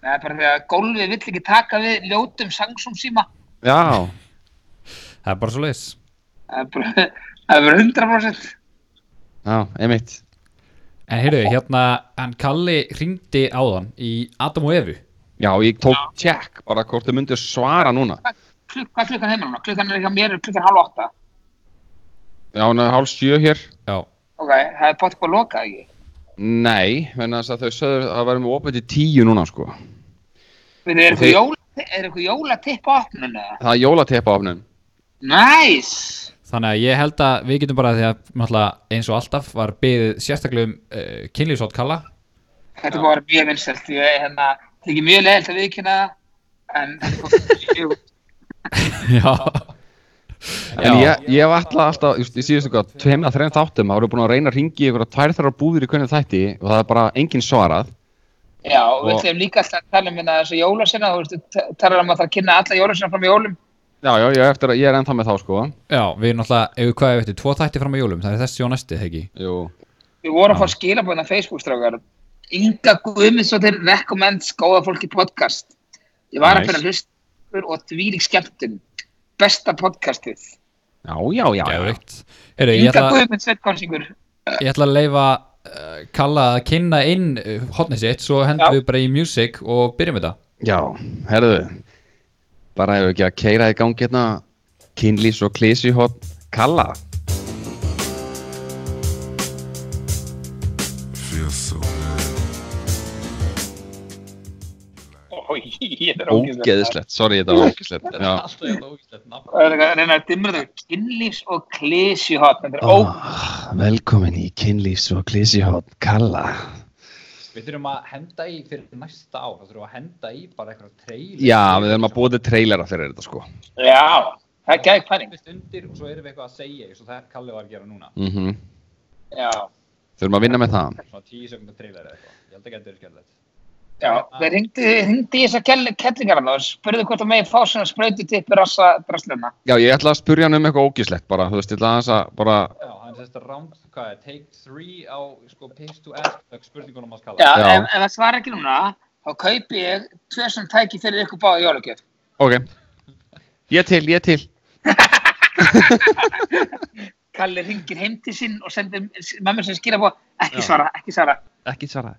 Speaker 3: það er bara því að gólfið vill ekki taka við ljótum Samsung síma
Speaker 1: já,
Speaker 4: það er bara svo leis
Speaker 3: það er bara, það er bara 100%
Speaker 1: já, einmitt
Speaker 4: En heyrðu, hérna, hann Kalli ringdi áðan í Adam og Evu
Speaker 1: Já, ég tók tjekk bara hvort þau myndu svara núna
Speaker 3: Klukk, hvað er klukkan heima núna? klukkan er hjá mér er klukkan halv átta
Speaker 1: Já, hún er hálf sjö hér
Speaker 4: Já,
Speaker 3: ok, það er bótt hvað lokað ekki
Speaker 1: Nei, þannig að þau sögðu að það væri með opið til tíu núna sko
Speaker 3: Við
Speaker 1: Þeir-
Speaker 3: erum eitthvað jóla, er eitthvað jóla tipp á opnun eða?
Speaker 1: Það er jólatepa ofnum
Speaker 3: Næs!
Speaker 4: þannig að ég held að við getum bara því að náttúrulega eins og alltaf var beðið sérstaklega um uh, kynlífsótt Kalla
Speaker 3: Þetta var mjög vinsælt, ég hérna, það er ekki mjög leiðilt að viðkynna það en jú,
Speaker 4: Já,
Speaker 1: En ég, ég var alltaf alltaf, just, ég síðast eitthvað, tveimna, þreina þáttum, þá voru búin að reyna að ringi ykkur að tvær þarra búðir í hvernig þætti og það er bara enginn svarað.
Speaker 3: já, og við
Speaker 1: Og-
Speaker 3: ætlum líka alltaf að tala um hérna þessu jólasina, þú veist, þú talar um að það að kynna alla jólasina fram í jólum
Speaker 1: Já, já, ég, er eftir, að- ég er ennþá með þá sko.
Speaker 4: já, við náttúrulega, ef við hvað við veitum, tvo þætti fram á jólum, það er þessi og næsti, hegi
Speaker 1: Jú.
Speaker 3: Við vorum að fá skilabóðin á Facebook strákar Inga Guðmundsdóttir recommends góða fólki podcast Ég var
Speaker 1: Nice.
Speaker 3: að finna hlustur og þvílík skemmtun Besta podcastið
Speaker 1: Já, já, já. já.
Speaker 4: Geðveikt. Heyrðu, ég
Speaker 3: Inga
Speaker 4: ætla,
Speaker 3: Guðmundsdóttir konsingur
Speaker 4: ég ætla að leifa uh, Kalla að kynna inn uh, hotnið sitt, svo hendum
Speaker 3: Já.
Speaker 4: við bara í music og byrjum þetta
Speaker 1: Já, herðu, bara hefur ekki að keira í gangi hérna, kynlýs og klísi hot, kalla.
Speaker 5: Feels so good.
Speaker 1: Ógeðislegt, sorry, þetta var ógeðislegt. Já,
Speaker 3: Það er eitthvað að reyna að dimra þetta kynlífs og klísi hot þetta er
Speaker 4: Ah.
Speaker 1: Ó,
Speaker 3: oh.
Speaker 1: Ah, velkomin í kynlýs og klísi hot, kalla.
Speaker 4: Við þurfum að henda í fyrir næsta ár, þá þurfum við að henda í bara eitthvað trailer
Speaker 1: Já, við erum að búa til trailera fyrir þetta sko.
Speaker 3: Já, það er gæk pæling
Speaker 4: undir og svo erum við eitthvað að segja eins og það er Kalli var að gera núna
Speaker 1: Mm
Speaker 3: Já,
Speaker 1: Þurfum að vinna með það.
Speaker 4: svona 10 sekundar trailer eða eitthvað, ég held ekki að þetta er skemmtilegt
Speaker 3: já Það ringdi, ringdi í þessa kellingar hann og spurði hvort það megi fá svona sprautu tippi rassa drastluna
Speaker 1: Já, ég ætla að spurja hann um eitthvað ógíslegt bara, þú veist, ég ætla aðeins að bara,
Speaker 4: Já, hann sérst að round, hvað er, take 3 á sko pitch to ask, það er spurningunum að skala
Speaker 3: Já,
Speaker 1: Já.
Speaker 3: Ef, ef það svarar ekki núna þá kaupi ég tvö sem tæki fyrir ykkur báða jólugjöf
Speaker 1: ok, ég til, ég til.
Speaker 3: Kalli ringir heim til sín og sendir mömmu sem skýra búa ekki svara, ekki svara
Speaker 1: Ekki svara.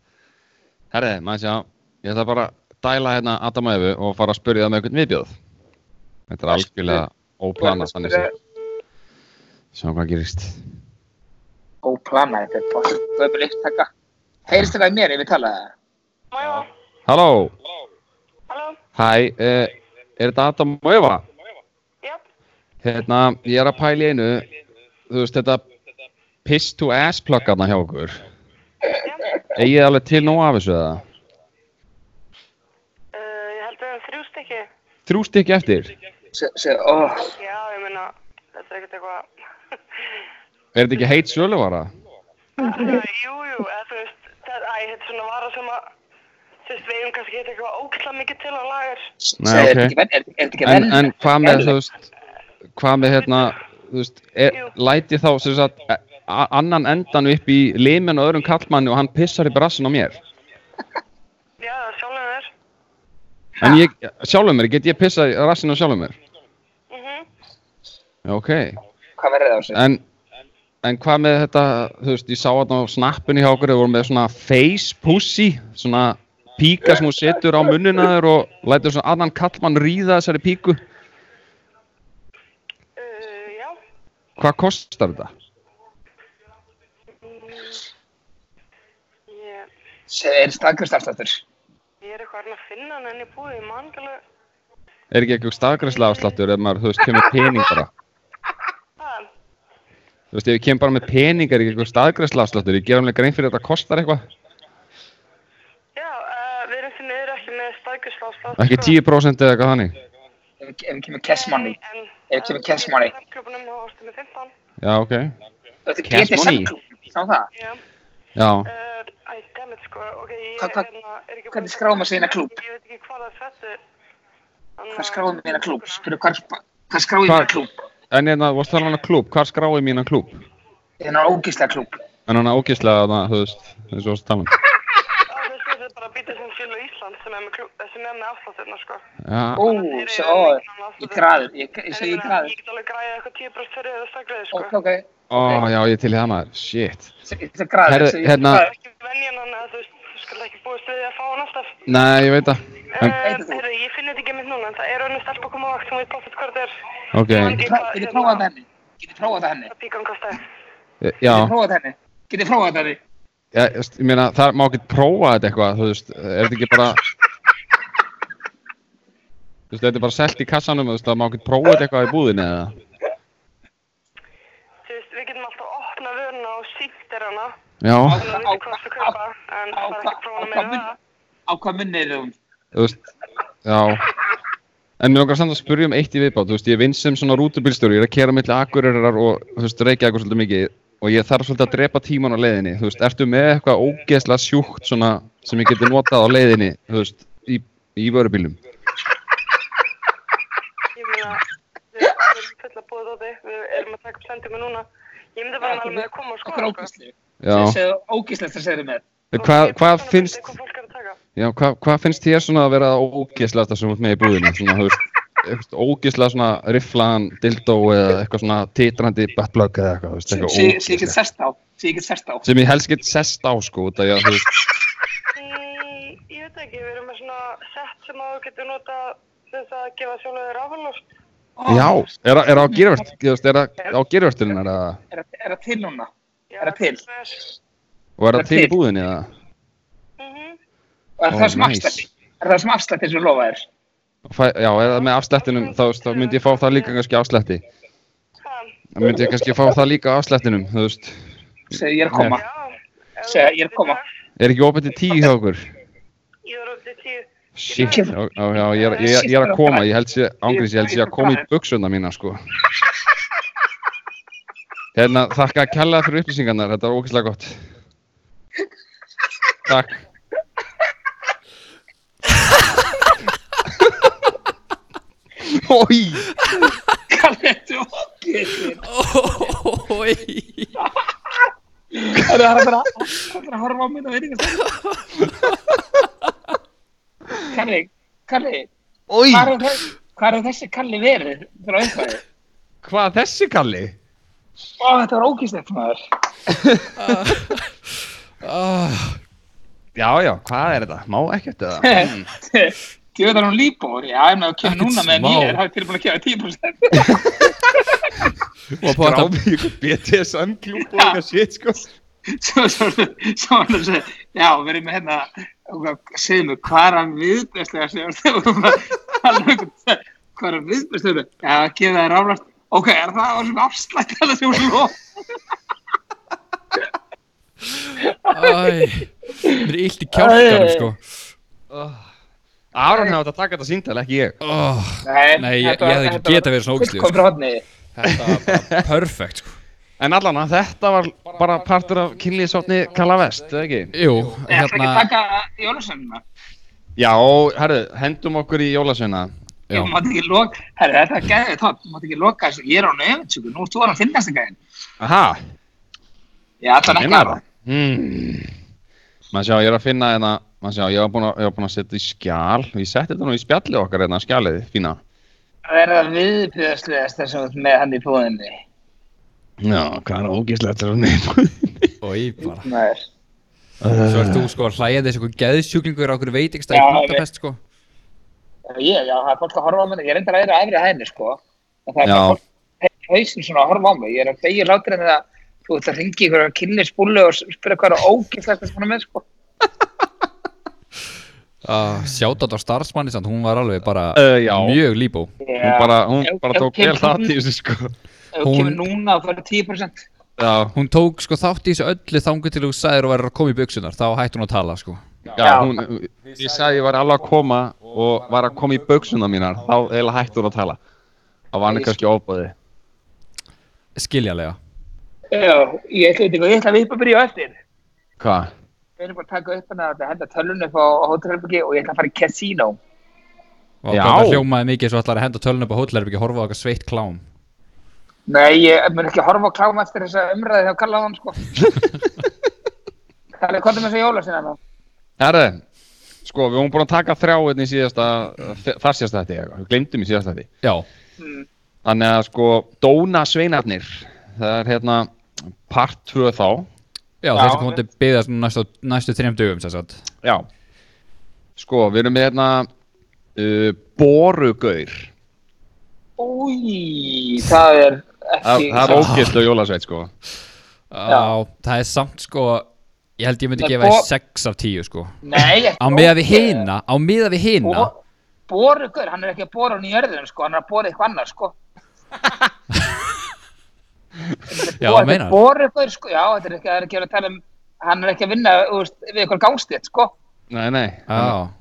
Speaker 1: Herriði, maður sjá, ég ætla bara að dæla hérna Adam og Efu og fara að spurja það með einhvern viðbjóð. Þetta er algjörlega óplanað þannig sem, sjá hvað gerist.
Speaker 3: Óplanað, þetta er bort Það er bara upptaka Heyrist þetta í mér ef ég tala það?
Speaker 2: Mæja,
Speaker 1: Halló,
Speaker 2: halló,
Speaker 1: hæ, uh, er þetta Adam og Efa?
Speaker 2: jáp,
Speaker 1: Hérna, ég er að pæla í einu, þú veist, þetta piss to ass pluggarna hjá okkur. Egið þið alveg til nóg af þessu eða?
Speaker 2: uh, ég held að það er þrjú stykki.
Speaker 1: Þrjú stykki eftir.
Speaker 3: Se- se- ó,
Speaker 2: Já, ég meina, þetta er ekkert eitthvað...
Speaker 1: Er þetta ekki heit söluvara?
Speaker 2: jú, jú, eða þú veist, það, æ, þetta er svona vara sem að, þú veist, við eigum kannski ekkert eitthvað óksla mikið til á lagar.
Speaker 1: Nei,
Speaker 3: se- Er
Speaker 1: ok.
Speaker 3: þetta ekki ven- er- er þetta ekki
Speaker 1: En,
Speaker 3: vel?
Speaker 1: en hvað með, þú veist, hvað með hérna, þú veist, er, læti þá sem sagt e- a- annan endan upp í limin og öðrum kallmanni og hann pissar í brassin á mér?
Speaker 2: Já, það er sjálfum þér.
Speaker 1: En ég, sjálfum mér, get ég pissað í rassin á sjálfum mér?
Speaker 2: Mhm.
Speaker 1: Já, Ok,
Speaker 3: Hvað verður það á sig?
Speaker 1: en, en hvað með þetta, þú veist, ég sá þarna á snappinu hjá okkur, þau voru með svona face pussy, svona píka sem hún setur á munnuna þér og lætur svona annan kallmann ríða þessari píku.
Speaker 2: Uh, já,
Speaker 1: Hvað kostar þetta?
Speaker 2: Mm, ég,
Speaker 3: Se- Er staðkvist afstættur?
Speaker 2: ég er eitthvað að reyna að finna hann enn í búið, manngalega.
Speaker 1: Er ekki eitthvað staðgræsla afsláttur ef maður, þú veist, kemur pening bara?
Speaker 2: Það,
Speaker 1: Þú veist, ef ég kem bara með pening er ekki eitthvað staðgræsla afsláttur, ég gera alveg grein fyrir að þetta kostar eitthvað.
Speaker 2: já, uh, við erum því niður ekki með stækjusláðslátt.
Speaker 1: Ekki 10% eða eitthvað þannig.
Speaker 3: Ef við- ef við kemur cash money
Speaker 2: En, eh,
Speaker 3: Ef kemur cash money.
Speaker 2: Í samklubunum þá varstu með 15.
Speaker 1: Já, ok.
Speaker 3: Þetta
Speaker 1: Cash
Speaker 3: getur
Speaker 1: money?
Speaker 3: samklú Sá það?
Speaker 2: Já.
Speaker 1: Já,
Speaker 2: Uh, Æ, dammit sko, ok, ég
Speaker 3: Hvað- hvað-
Speaker 2: hérna, er ekki búin
Speaker 3: hvernig
Speaker 2: að-
Speaker 3: skráir maður sig inn í klúbb?
Speaker 2: Ég veit ekki hvað það fættu.
Speaker 3: Hvað skráðum við hérna klúb? Spyrir hvað, hvað skráðum við
Speaker 1: Hvað-
Speaker 3: hérna klúb?
Speaker 1: en hérna, þú varst að tala um hana klúb, hvar skrái mínan klúb?
Speaker 3: Hérna ógislega klúb
Speaker 1: En hann er ógeðslega þarna, þú veist, eins og þessi talan.
Speaker 2: Það veist þetta er bara bítið sem fjölu Ísland sem er með, klú- eh, sem er með afsláttirna sko.
Speaker 1: Já,
Speaker 3: Ó,
Speaker 2: Þeir eru
Speaker 3: svo, ó,
Speaker 2: með miklan afslátt.
Speaker 3: ég græður, ég, ég segi ég
Speaker 2: meina,
Speaker 3: græður.
Speaker 2: Ég get alveg græðið eitthvað 10% fyrir eða stakriði sko.
Speaker 3: Ok, ok,
Speaker 1: ó, já, ég er til í það maður, shit.
Speaker 3: ég segi græður,
Speaker 1: Herðu,
Speaker 3: ég segi
Speaker 1: hérna-
Speaker 2: Það
Speaker 3: græður.
Speaker 2: er ekki venjan hann að þú veist, þú skal ekki búist við því að fá hann alltaf.
Speaker 1: Nei, ég veit það. En,
Speaker 3: Veitir þú?
Speaker 2: Herru, Eh, ég finn þetta ekki mitt núna, en það er önnur stelpa að koma á vakt, hún veit bóttið hvort það er.
Speaker 1: ok,
Speaker 3: Get ég pró- get ég prófað þetta henni? Get ég prófað þetta henni?
Speaker 2: Það píkan kostaði.
Speaker 1: e, já,
Speaker 3: Get ég prófað þetta henni? Get ég prófað þetta henni?
Speaker 1: já, ég veist, ég meina, það má ekki prófa þetta eitthvað, þú veist, er þetta ekki bara... Þú veist, þetta er bara selt í kassanum, þú veist, það má ekki prófa þetta eitthvað í búðinni eða?
Speaker 2: Þú veist, við getum alltaf að opna vöruna og sýttir hana,
Speaker 1: Já,
Speaker 2: þannig að við veitum hvað þú kaupa, en
Speaker 3: Á
Speaker 2: það er
Speaker 3: hva-
Speaker 2: ekki
Speaker 3: á
Speaker 2: prófana
Speaker 3: hvað
Speaker 2: meira en
Speaker 3: mun-
Speaker 2: það.
Speaker 3: Á hvað um? munni er hún?
Speaker 1: þú veist, já. En mér langar samt að spyrja um eitt í viðbátt, þú veist, ég vinn sem svona rútubílstjóri, ég er að kera milli akurirar og, þú veist, reykja eitthvað svolítið mikið og ég þarf svolítið að drepa tíman á leiðinni, þú veist, ertu með eitthvað ógeðslega sjúkt svona sem ég geti notað á leiðinni, þú veist, í, í vörubílum?
Speaker 2: Ég meina, við við erum fulla búið á því, við erum að taka upp sendingu núna. Ég myndi bara mæla með að koma og
Speaker 3: Okkur
Speaker 2: skoða, sko.
Speaker 3: ógísli.
Speaker 1: Já,
Speaker 3: Ógíslegt að segja þér með.
Speaker 1: En Eh, hvað hva
Speaker 2: Og ég er bara svona að
Speaker 1: finnst,
Speaker 2: vita Hvað fólk er að taka.
Speaker 1: já, hva, hva finnst þér svona að vera ógeðslega þetta sem þú ert með í búðinni, svona, þú veist, eitthvað ógeðslega svona rifflaðan dildó eða eitthvað svona titrandi buttplug eða eitthvað, þú veist,
Speaker 3: Sem
Speaker 1: eitthvað
Speaker 3: sem- sem ég get
Speaker 1: ógeðslegt.
Speaker 3: sest á. Sem ég get sest á.
Speaker 1: sem ég helst get sest á sko út af því að þú veist
Speaker 2: Mm, Ég veit ekki, við erum með svona sett sem að þú getur nota þess að gefa sjálfur rafalost.
Speaker 1: já, er, það- er það á gerivert þú veist, er það á gerivert eða
Speaker 3: Er það- er það til núna?
Speaker 2: Já,
Speaker 3: Er það til?
Speaker 2: svona er.
Speaker 1: og er það til í búðinni eða
Speaker 2: Mhm.
Speaker 3: Og er
Speaker 1: Ó,
Speaker 3: það sem
Speaker 1: nice.
Speaker 3: afslætti? Er það sem afslætti sem lofa þér?
Speaker 1: Fæ, já, eða með afslættinum þá, veist, þá myndi ég fá það líka kannski afslætti
Speaker 2: Ha,
Speaker 1: þá myndi ég kannski fá það líka afslættinum þú veist,
Speaker 3: Segðu ég er að koma.
Speaker 2: já. Ef
Speaker 3: Segja,
Speaker 2: þú
Speaker 3: ég er að
Speaker 2: vilt
Speaker 3: koma.
Speaker 2: það,
Speaker 1: er ekki opið til tíu hjá okkur
Speaker 2: Ég er upp til tíu.
Speaker 1: shit, já, já, já, ég, er, ég, er- ég er að koma ég held sér, ángriðs, ég held sér að koma í buksuna mína sko hérna, þakka að kella fyrir upplýsingarnar, þetta var ógeðslega gott takk Ói,
Speaker 3: Kalli, þetta er ógísli.
Speaker 6: Oi.
Speaker 3: Það er bara það er að horfa á minna veitingastæði. Kalli, Kalli,
Speaker 1: ói,
Speaker 3: hvað er, þess, hvað er þessi Kalli verið frá einhverju?
Speaker 1: hvað þessi kalli?
Speaker 3: Ó, þetta var ógíslegt maður.
Speaker 1: Já, já, hvað er þetta? Má ekkert eða?
Speaker 3: Þið veit að hún líbor, já, ef maður kemur núna meðan
Speaker 6: smá.
Speaker 3: ég er, það er tilbúin að gefa 10%.
Speaker 6: Og på þetta
Speaker 1: Gráði ykkur BTSM klúb og eitthvað shit, sko.
Speaker 3: Svo, svo, svo, svo, hann að segja, já, verið með hérna, og segðu mig, hvað er hann viðbæslega, segðu mig, hvað er hann viðbæslega, já, gefa það ráflast, ok, er það á svona afslætt, það sem hún lóð,
Speaker 6: Æ, mér er illt í kjálkanum sko
Speaker 1: Aron hefði átt að taka þetta síntal, ekki ég.
Speaker 6: oh, Nei, ég, ég hefði ekki getað verið svona sko. ógæslu
Speaker 3: Kom frá hodni,
Speaker 6: Þetta var bara perfekt sko
Speaker 1: En allan að þetta var bara partur af kynlíðsotni Kalla Vest, eða ekki?
Speaker 6: Jú,
Speaker 3: ég ætla ekki að
Speaker 6: hérna
Speaker 3: taka jólasögnuna,
Speaker 1: Já, herru, hendum okkur í jólasveina.
Speaker 6: Já.
Speaker 3: ég mátt ekki loka, herri, þetta er gæðið tótt, ég mátt ekki loka þessu, ég er á nöfnsöku, nú þú er hann finnast ekki,
Speaker 1: Aha,
Speaker 3: ég ætla ekki að
Speaker 1: Hmm. Maður sjá, ég er að finna hérna, maður sjá, ég var búinn að, ég var búinn að setja í skjál, ég setti þetta nú í spjalli okkar hérna, skjalið, fína.
Speaker 3: Það er það viðbjöðslegasta sem þú ert með hann í búðinni.
Speaker 1: Já, hvað er ógíslegt þér að nefna?
Speaker 6: Oi, bara
Speaker 3: Maður.
Speaker 6: Svo ert þú sko hlægjandi þessi eitthvað geðsjúklingur á okkur veitingstæði
Speaker 3: Já,
Speaker 6: í
Speaker 3: ég veit.
Speaker 6: Budapest sko
Speaker 3: Ég, já, það er fólk að horfa á mig. Ég er reyndar að vera á efri hæðinni, sko. En það er
Speaker 1: Já.
Speaker 3: bara fólk í hausin svona að horfa á mig. Ég er að degja látur en það þú ert að ringi ykkur að kynni spúlu og spyrja hvað er ógiflegt að svona með, sko.
Speaker 6: uh, Sjátat á starfsmanni samt, hún var alveg bara
Speaker 1: Eh, já.
Speaker 6: mjög líbó
Speaker 1: Hún bara, hún
Speaker 3: Ef-
Speaker 1: bara
Speaker 3: ef
Speaker 1: tók
Speaker 3: kemur
Speaker 1: vel þátt
Speaker 3: hún-
Speaker 1: í þessu, sko.
Speaker 3: Ef þú kemur
Speaker 6: hún-
Speaker 3: núna og fyrir 10%.
Speaker 1: Já,
Speaker 6: Hún tók sko þátt í þessu öllu þangu til þú sagðir og væri að koma í buksunar Þá hætti hún að tala sko
Speaker 1: já, hún, ég sagði ég var alveg að koma og var að koma í buksuna mínar, þá eiginlega hætti hún að tala. Það var hann kannski óbúði.
Speaker 6: Skiljalega
Speaker 3: Já, ég ætla eitthvað, ég ætla að viðpa byrja á eftir.
Speaker 1: Hvað?
Speaker 3: Við erum bara að taka upp hana að henda tölunum upp á hótelherbyggi og ég ætla að fara í casino.
Speaker 6: Vá,
Speaker 1: Já.
Speaker 6: hvað Þetta hljómaði mikið svo ætlar að henda tölun upp á hótlerbyggi og horfa á okkar sveitt klám
Speaker 3: Nei, ég mun ekki horfa á klám eftir þessa umræði hjá Kallaðan, sko. Það er hvað er með þessu jólasina þá?
Speaker 1: Herre, sko, við vorum búin að taka þrjá hérna í síðasta, þar síðasta þetta eitthvað, við glemdum í síðasta þetta.
Speaker 4: Já,
Speaker 1: Þannig að sko, Dóna Sveinarnir, það er hérna part 2 þá.
Speaker 4: já, þessi komandi byggðast nú næstu, næstu þrejum dögum sem sagt
Speaker 1: Já. Sko, við erum með hérna uh, Borugaur,
Speaker 3: Új, það er
Speaker 1: það,
Speaker 3: ekki...
Speaker 1: það er ógilt og jólasveit sko.
Speaker 4: Já, það er samt sko Ég held ég myndi
Speaker 3: Nei,
Speaker 4: gefa
Speaker 3: bo-
Speaker 4: því 6 af 10 sko
Speaker 3: Nei, ekki
Speaker 4: Á meða við hina, á meða við hina
Speaker 3: Bo- Borugur, hann er ekki að bora hann í jörðum, sko, hann er að bora eitthvað annað, sko.
Speaker 4: Já,
Speaker 3: Bo-
Speaker 4: það meinar
Speaker 3: Borugur, sko, já, þetta er ekki, það er ekki að tala um, hann er ekki að vinna þú veist, við eitthvað gangstétt, sko.
Speaker 1: Nei, nei.
Speaker 4: Já,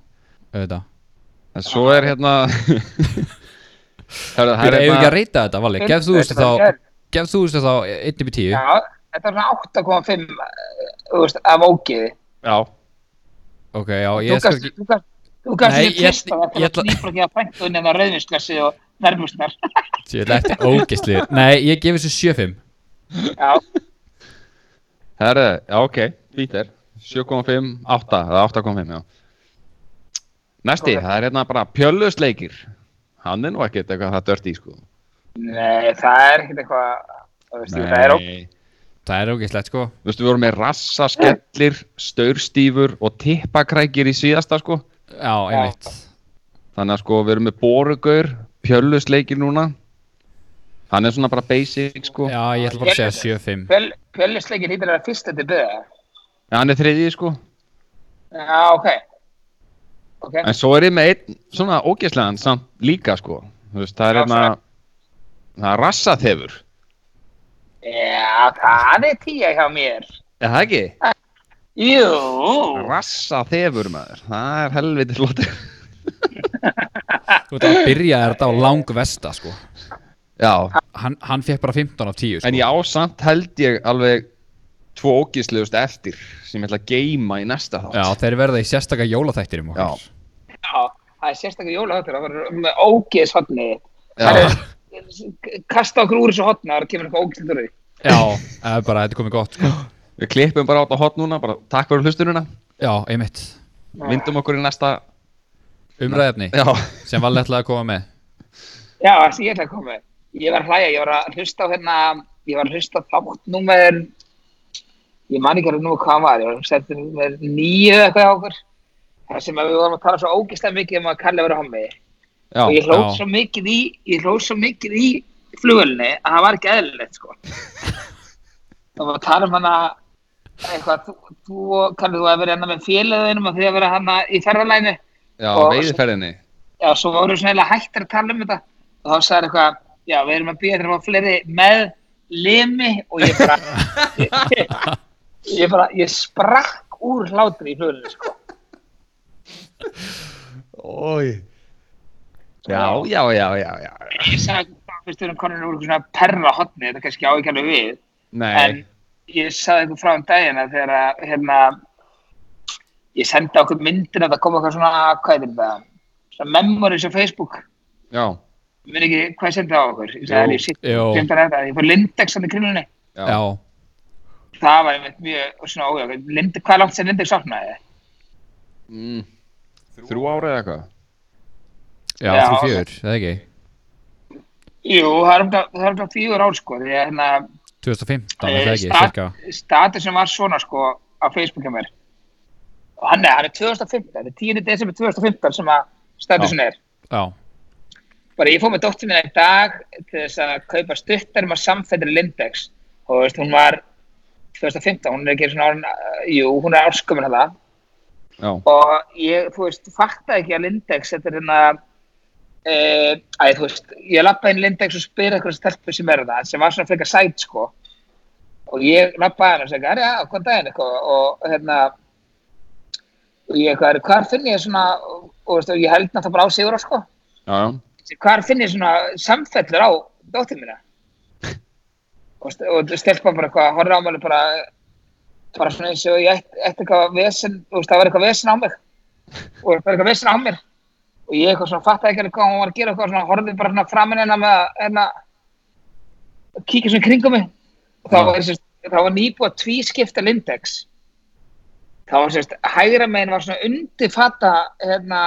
Speaker 4: auðvitað
Speaker 1: En svo er hérna... Herre,
Speaker 4: Það
Speaker 1: það er
Speaker 4: er ekki að
Speaker 1: hérna...
Speaker 4: reyta þetta, Valli Gef þú þessu
Speaker 3: Þetta var í
Speaker 4: þá
Speaker 3: gær.
Speaker 4: Gef þú þessu þá 1 upp í 10
Speaker 3: Já, þetta var svona 8,5, eh, þú veist, af ógiði.
Speaker 1: Já,
Speaker 4: Ok, já,
Speaker 3: Þú
Speaker 4: ég skal
Speaker 3: gast,
Speaker 4: ekki
Speaker 3: þú gast, þú gast
Speaker 4: Nei,
Speaker 3: ekki
Speaker 4: ég-
Speaker 3: fyrst að
Speaker 4: ég
Speaker 3: þetta
Speaker 4: ætla-
Speaker 3: var nýbrokið að fæntu inn eða rauðvinslessi og verðmusnar.
Speaker 4: Ég ætla eftir ógæstlið Nei, ég gef þessu 7-5
Speaker 3: já,
Speaker 1: herre, já, ok, fítir. 7,5, 8, eða 8,5, já. Næsti, það er hérna bara Pjöllusleikir. Hann er nú ekkert eitthvað það dört í sko.
Speaker 3: nei, það er ekkert eitthvað, þú veist, það er ógiði.
Speaker 1: Nei.
Speaker 4: Það er ógæstlið sko
Speaker 1: Þú veist, við vorum með rassaskellir, staurstífur og tippakrækir í síðasta, sko.
Speaker 4: Já, einmitt
Speaker 1: Þannig að sko, við erum með borugaur, pjöllusleikir núna. Hann er svona bara basic, sko.
Speaker 4: Já, ég ætla bara að segja 7-5
Speaker 3: Pjöllisleikin hýttir að vera fyrst þetta byggða.
Speaker 1: Ja, hann er þriðið, sko.
Speaker 3: Já, ok. Ok,
Speaker 1: En svo er ég með einn svona ógeðslegan samt líka, sko. Þú veist, það er
Speaker 3: Já,
Speaker 1: hérna, það er rassathefur.
Speaker 3: já, það er tíja hjá mér.
Speaker 1: Er það ekki?
Speaker 3: Jú,
Speaker 1: Rassathefur, maður. Það er helviti flottir.
Speaker 4: Þú veit að byrja þetta á langvesta sko
Speaker 1: Já,
Speaker 4: Hann, hann fekk bara 15 af 10 sko
Speaker 1: en ég ásamt held ég alveg tvo ógeðslegust eftir sem ég ætla að geima í næsta þátt.
Speaker 4: Já, þeir verða í sérstaka jólaþættirum
Speaker 1: Já.
Speaker 4: okkar
Speaker 3: já, það er sérstaklega jólaháttur, það var með ógeðs hotni.
Speaker 1: Já.
Speaker 3: Kasta okkur úr þessu hotna, það kemur eitthvað ógeðs hotni.
Speaker 4: Já, það er bara, þetta er komið gott sko.
Speaker 1: Við klippum bara átt á hot núna, bara takk fyrir hlustununa,
Speaker 4: Já, einmitt
Speaker 1: vindum okkur í næsta,
Speaker 4: Umræðefni
Speaker 1: já,
Speaker 4: sem Valli ætlaði að koma með
Speaker 3: Já, það sé ég ætla að koma. Ég var að hlæja, ég var að hlusta á hérna, ég var að hlusta á þátt númer, ég man ekki alveg nú hvað hann var, ég var að hlusta eftir númer nýju eitthvað hjá okkur. Það sem að við vorum að tala svo ógeðslega mikið um að kalla vera hommi.
Speaker 1: já,
Speaker 3: og ég hlóð
Speaker 4: já.
Speaker 3: svo mikið í ég hlóð svo mikið í flugulni að það var ekki eðlilegt sko það var að tala um hana eitthvað, þú, þú kannið þú að vera hérna með félöðinum og því að vera hana hérna í ferðalæni
Speaker 1: já,
Speaker 3: Og-
Speaker 1: veiðiferðinni,
Speaker 3: já, svo voru svona eiginlega hættir að tala um þetta og þá sagði eitthvað, já, við erum að býja þegar að fá fleiri með limi og ég bara ég, ég bara, ég sprakk úr hlátri í flugulni sko
Speaker 1: já, já, já, já, já,
Speaker 3: ég sagði, fyrst við erum konur um úr eitthvað svona perra hotni, þetta kannski á ekki alveg við
Speaker 1: nei,
Speaker 3: en ég sagði ykkur frá um daginn að þegar að hérna, ég sendi okkur myndin að það kom eitthvað svona, hvað er þetta, svona memories á Facebook,
Speaker 1: já,
Speaker 3: ég veit ekki hvað ég sendi á okkur, ég sagði að ég sitt,
Speaker 4: Jú.
Speaker 3: glemt að þetta, ég fór Lindex hann í grillunni,
Speaker 1: Já.
Speaker 4: Já,
Speaker 3: það var einmitt mjög svona ójá, Lindex, hvað er langt sem Lindex opnaði?
Speaker 1: mm. þrjú ára eða eitthvað,
Speaker 4: já,
Speaker 3: Já.
Speaker 4: þú fjör, það ekki
Speaker 3: Jú, það er um það er um það fjögur ár sko, því að hérna, eh,
Speaker 4: 2015, er það ekki, cirka
Speaker 3: stat, statusin var svona sko á Facebook hjá mér, og hann er, hann er 2015, þetta er 10. desember 2015 sem að statusin er.
Speaker 4: Já,
Speaker 3: bara ég fór með dóttir minna í dag til þess að kaupa stuttar um að samfættir Lindex og þú veist, hún var 2015, hún er ekki svona árin, uh, jú, hún er árskumur hana
Speaker 1: já,
Speaker 3: og ég, þú veist, fattaði ekki að Lindex, þetta er hérna e, að þú veist, ég lappaði inn í Lindex og spyrir eitthvað stelpu sem er það sem var svona frekar sæt, sko og ég lappaði hann og segi, "Herra, já, hvað daginn eitthvað og hérna og ég eitthvað, "Herra, hvar finn ég svona og, og, veist, og ég held náttúrulega bara á sigur á, sko
Speaker 1: já, já,
Speaker 3: hvar finn ég svona samfellur á dóttir mína og, st- og stelpa bara eitthvað horfði á mér bara bara svona eins og ég ætti ætti eitthvað vesen, þú veist það var eitthvað vesen á mig og það var eitthvað vesen á mér og ég eitthvað svona fattaði ekki alveg hvað hún var að gera eitthvað svona horfði bara svona framin hennar með að hérna að kíkja svona í kringum mig og þá var, þessi- þá var nýbúið að tvískipta Lindex þá var sérst, hægra megin var svona undirfata hérna,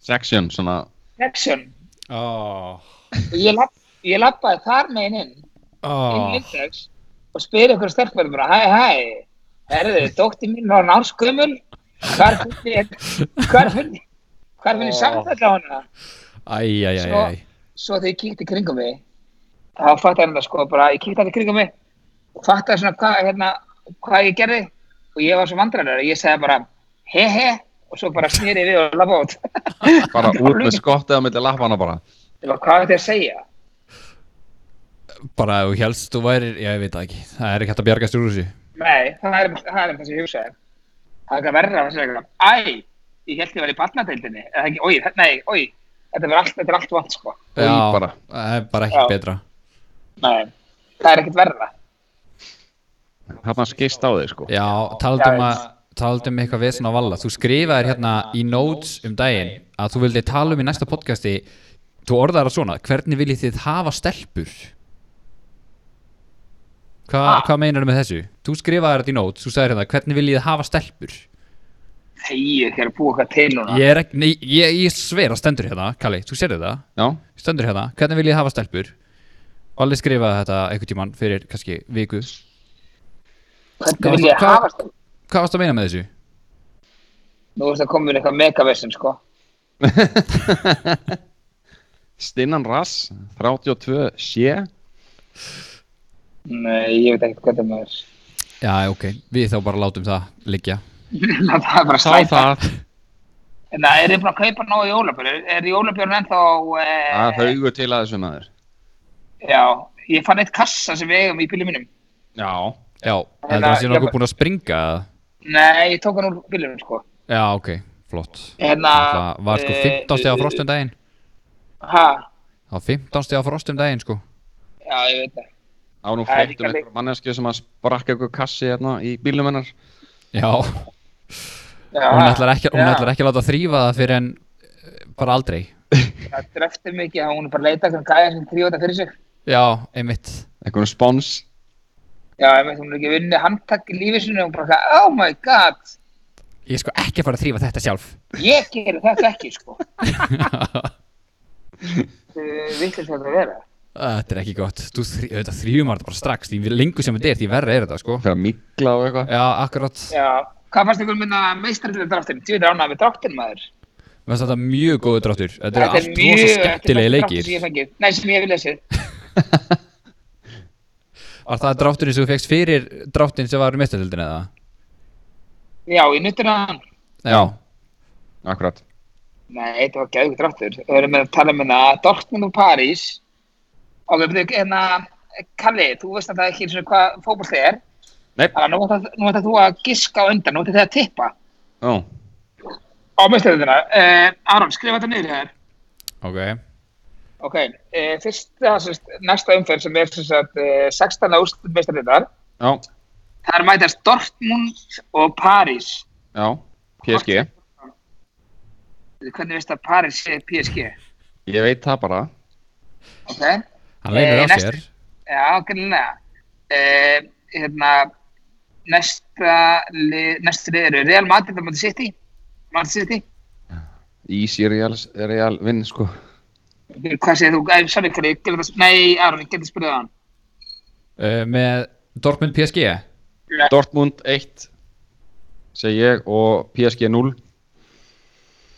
Speaker 1: Section, svona
Speaker 3: section
Speaker 6: oh.
Speaker 3: og ég, lapp, ég lappaði þar megin inn inn í
Speaker 6: Oh.
Speaker 3: index og spyr ykkur stelpur bara, hæ, hæ herðu, dóttir mín var nárskumul hvar fundi hvar fundi hvar fundi samfæll á hana
Speaker 6: Æ, Ah. æ, æ,
Speaker 3: Svo-
Speaker 6: æ.
Speaker 3: svo þegar ég kíkti kringum mig þá fattaði hann það sko bara, ég kíkti hann kringum mig og fattaði svona hvað hérna, hva ég gerði og ég var svo vandræður ég segði bara he he og svo bara snýri við og labba út
Speaker 1: bara út með skottið á milli lappana bara
Speaker 3: ég bara, hvað er þetta að segja?
Speaker 6: Bara ef þú helst þú værir, já, ég veit það ekki Það er ekki hægt að bjargast úr þessu
Speaker 3: nei, það er, það er um þessi hugsaði það er eitthvað verra að segja eitthvað æ, ég held ég var í barnadeildinni eða ekki, oi, þe- nei, oi þetta er allt, þetta er allt vant sko
Speaker 1: Oj,
Speaker 6: Já,
Speaker 1: bara.
Speaker 6: það er bara ekki
Speaker 3: Já.
Speaker 6: betra
Speaker 3: nei, það er ekkert verra
Speaker 1: þarna skist á þig sko
Speaker 6: Já, taldum
Speaker 3: Já,
Speaker 6: að taldum eitthvað vesen á valla þú skrifaðir hérna í notes um daginn að þú vildi tala um í næsta podcasti þú orðaðir það svona, hvernig viljið þið hafa stelpur Hva,
Speaker 3: Ha?
Speaker 6: hvað meinar með þessu? þú skrifaðir þetta í notes, þú sagðir hérna hvernig viljið þið hafa stelpur
Speaker 3: þegi ekki að búa eitthvað til núna
Speaker 6: ég er ekki, nei, ég, ég sver að stendur hérna Kalli, þú sér þetta,
Speaker 1: já,
Speaker 6: stendur hérna hvernig viljið þið hafa stelpur Valli skrifaði þetta einhvern tímann fyrir kannski viku
Speaker 3: hvernig vil ég
Speaker 6: Hvað-
Speaker 3: hafa þetta?
Speaker 6: hvað varst að meina með þessu?
Speaker 3: Nú veist að koma með eitthvað megavessin, sko.
Speaker 1: Stinnan Rass 32 sé
Speaker 3: Nei, ég veit ekkert hvað það maður.
Speaker 6: já, ok, við þá bara látum það liggja
Speaker 3: það er bara
Speaker 1: sá
Speaker 3: slæta.
Speaker 1: það
Speaker 3: En það er þið búin að kaupa nógu jólabjörn. Er, er jólabjörn ennþá...
Speaker 6: Ah,
Speaker 1: að
Speaker 3: Eh,
Speaker 1: haugu til að þessu maður
Speaker 3: já, ég fann eitt kassa sem við eigum í bílum mínum.
Speaker 1: já,
Speaker 6: Já,
Speaker 3: En
Speaker 6: heldur það
Speaker 3: að-
Speaker 6: sé
Speaker 3: ég
Speaker 6: nokkuð
Speaker 3: bara-
Speaker 6: búin að springa eða?
Speaker 3: Nei, ég tók hann úr bílum, sko.
Speaker 6: Já, ok, flott
Speaker 3: Hérna...
Speaker 6: Það var sko 15
Speaker 3: eh,
Speaker 6: steg á frost um daginn
Speaker 3: Hæ?
Speaker 6: Það var 15 steg á frost um daginn sko
Speaker 3: Já, ég veit það.
Speaker 1: á nú
Speaker 3: Það er
Speaker 1: fréttum
Speaker 3: líka leik-
Speaker 1: einhver mannesku sem að sprakka einhver kassi hérna í bílum hennar
Speaker 6: Já, hún
Speaker 3: Já,
Speaker 6: ætlar ekki, hún ætlar ekki að láta þrýfa það fyrir en eh, bara aldrei
Speaker 3: Það drefti mikið að hún er bara að leita hvernig gæja sem þrjóta fyrir sig.
Speaker 6: Já, einmitt
Speaker 1: einhvern spons
Speaker 3: Já, ég veit, hún er ekki vinnið handtak í lífið sinu og hún bara, oh my god,
Speaker 6: Ég er sko ekki að fara að þrýfa þetta sjálf
Speaker 3: ég gerir þetta ekki, sko. Vittir þetta að vera.
Speaker 6: Þetta er ekki gott Þú þrý- auðvitað þrýfum þetta bara strax Því lengur sem þetta er, því verra er þetta sko
Speaker 1: fyrir að mikla og eitthvað
Speaker 6: Já, akkurat
Speaker 3: Já, hvað fannst ykkur um hérna minna meistarlega dráttin? Þú veit ránaði með dráttin maður.
Speaker 6: Mér finnst Þetta er mjög góður dráttur Þetta er allt rosa
Speaker 3: þetta er
Speaker 6: skemmtilegi
Speaker 3: besti dráttur
Speaker 6: leikir
Speaker 3: sem ég hef fengið. Nei, sem ég hef lesið.
Speaker 6: Var það drátturinn sem þú fegst fyrir dráttin sem var mestarhildin eða?
Speaker 3: Já, ég nuttir að hann.
Speaker 6: Já,
Speaker 1: akkurat
Speaker 3: Nei, þetta var gæðugur dráttur. Við erum með að tala um hérna Dortmund og París. Og við byrjum hérna, Kalli, þú veist að það ekki eins og hvað fótbolli er.
Speaker 1: Nei.
Speaker 3: Þannig að nú ætlar- nú ætlar þú að giska á undan, nú ætlar þið að tippa
Speaker 1: já,
Speaker 3: á meistarlega. Uh, Aron, skrifa þetta niður hér.
Speaker 6: ok
Speaker 3: Ok, uh, fyrsta, sérst, næsta umferð sem er sérst, uh, 16. úrslit meistarlega.
Speaker 1: já,
Speaker 3: Það er mætast Dortmund og París.
Speaker 1: já PSG,
Speaker 3: Hvernig veist að París sé PSG?
Speaker 1: ég veit það bara
Speaker 3: Ok?
Speaker 6: Hann leynir
Speaker 3: Eh,
Speaker 6: á
Speaker 3: næst-
Speaker 6: sér
Speaker 3: Já, grunlega. Uh, hérna, næsta, lið- næsta lið eru Real Madrid á móti City. Madrid City.
Speaker 1: Easy Real, real vinn sko
Speaker 3: Hvað segir þú? Æ, sorry, Kari, ég glemdi að- nei, Aron, ég geti spurðið hann.
Speaker 6: uh, Með Dortmund PSG
Speaker 1: Dortmund 1 segi ég og PSG 0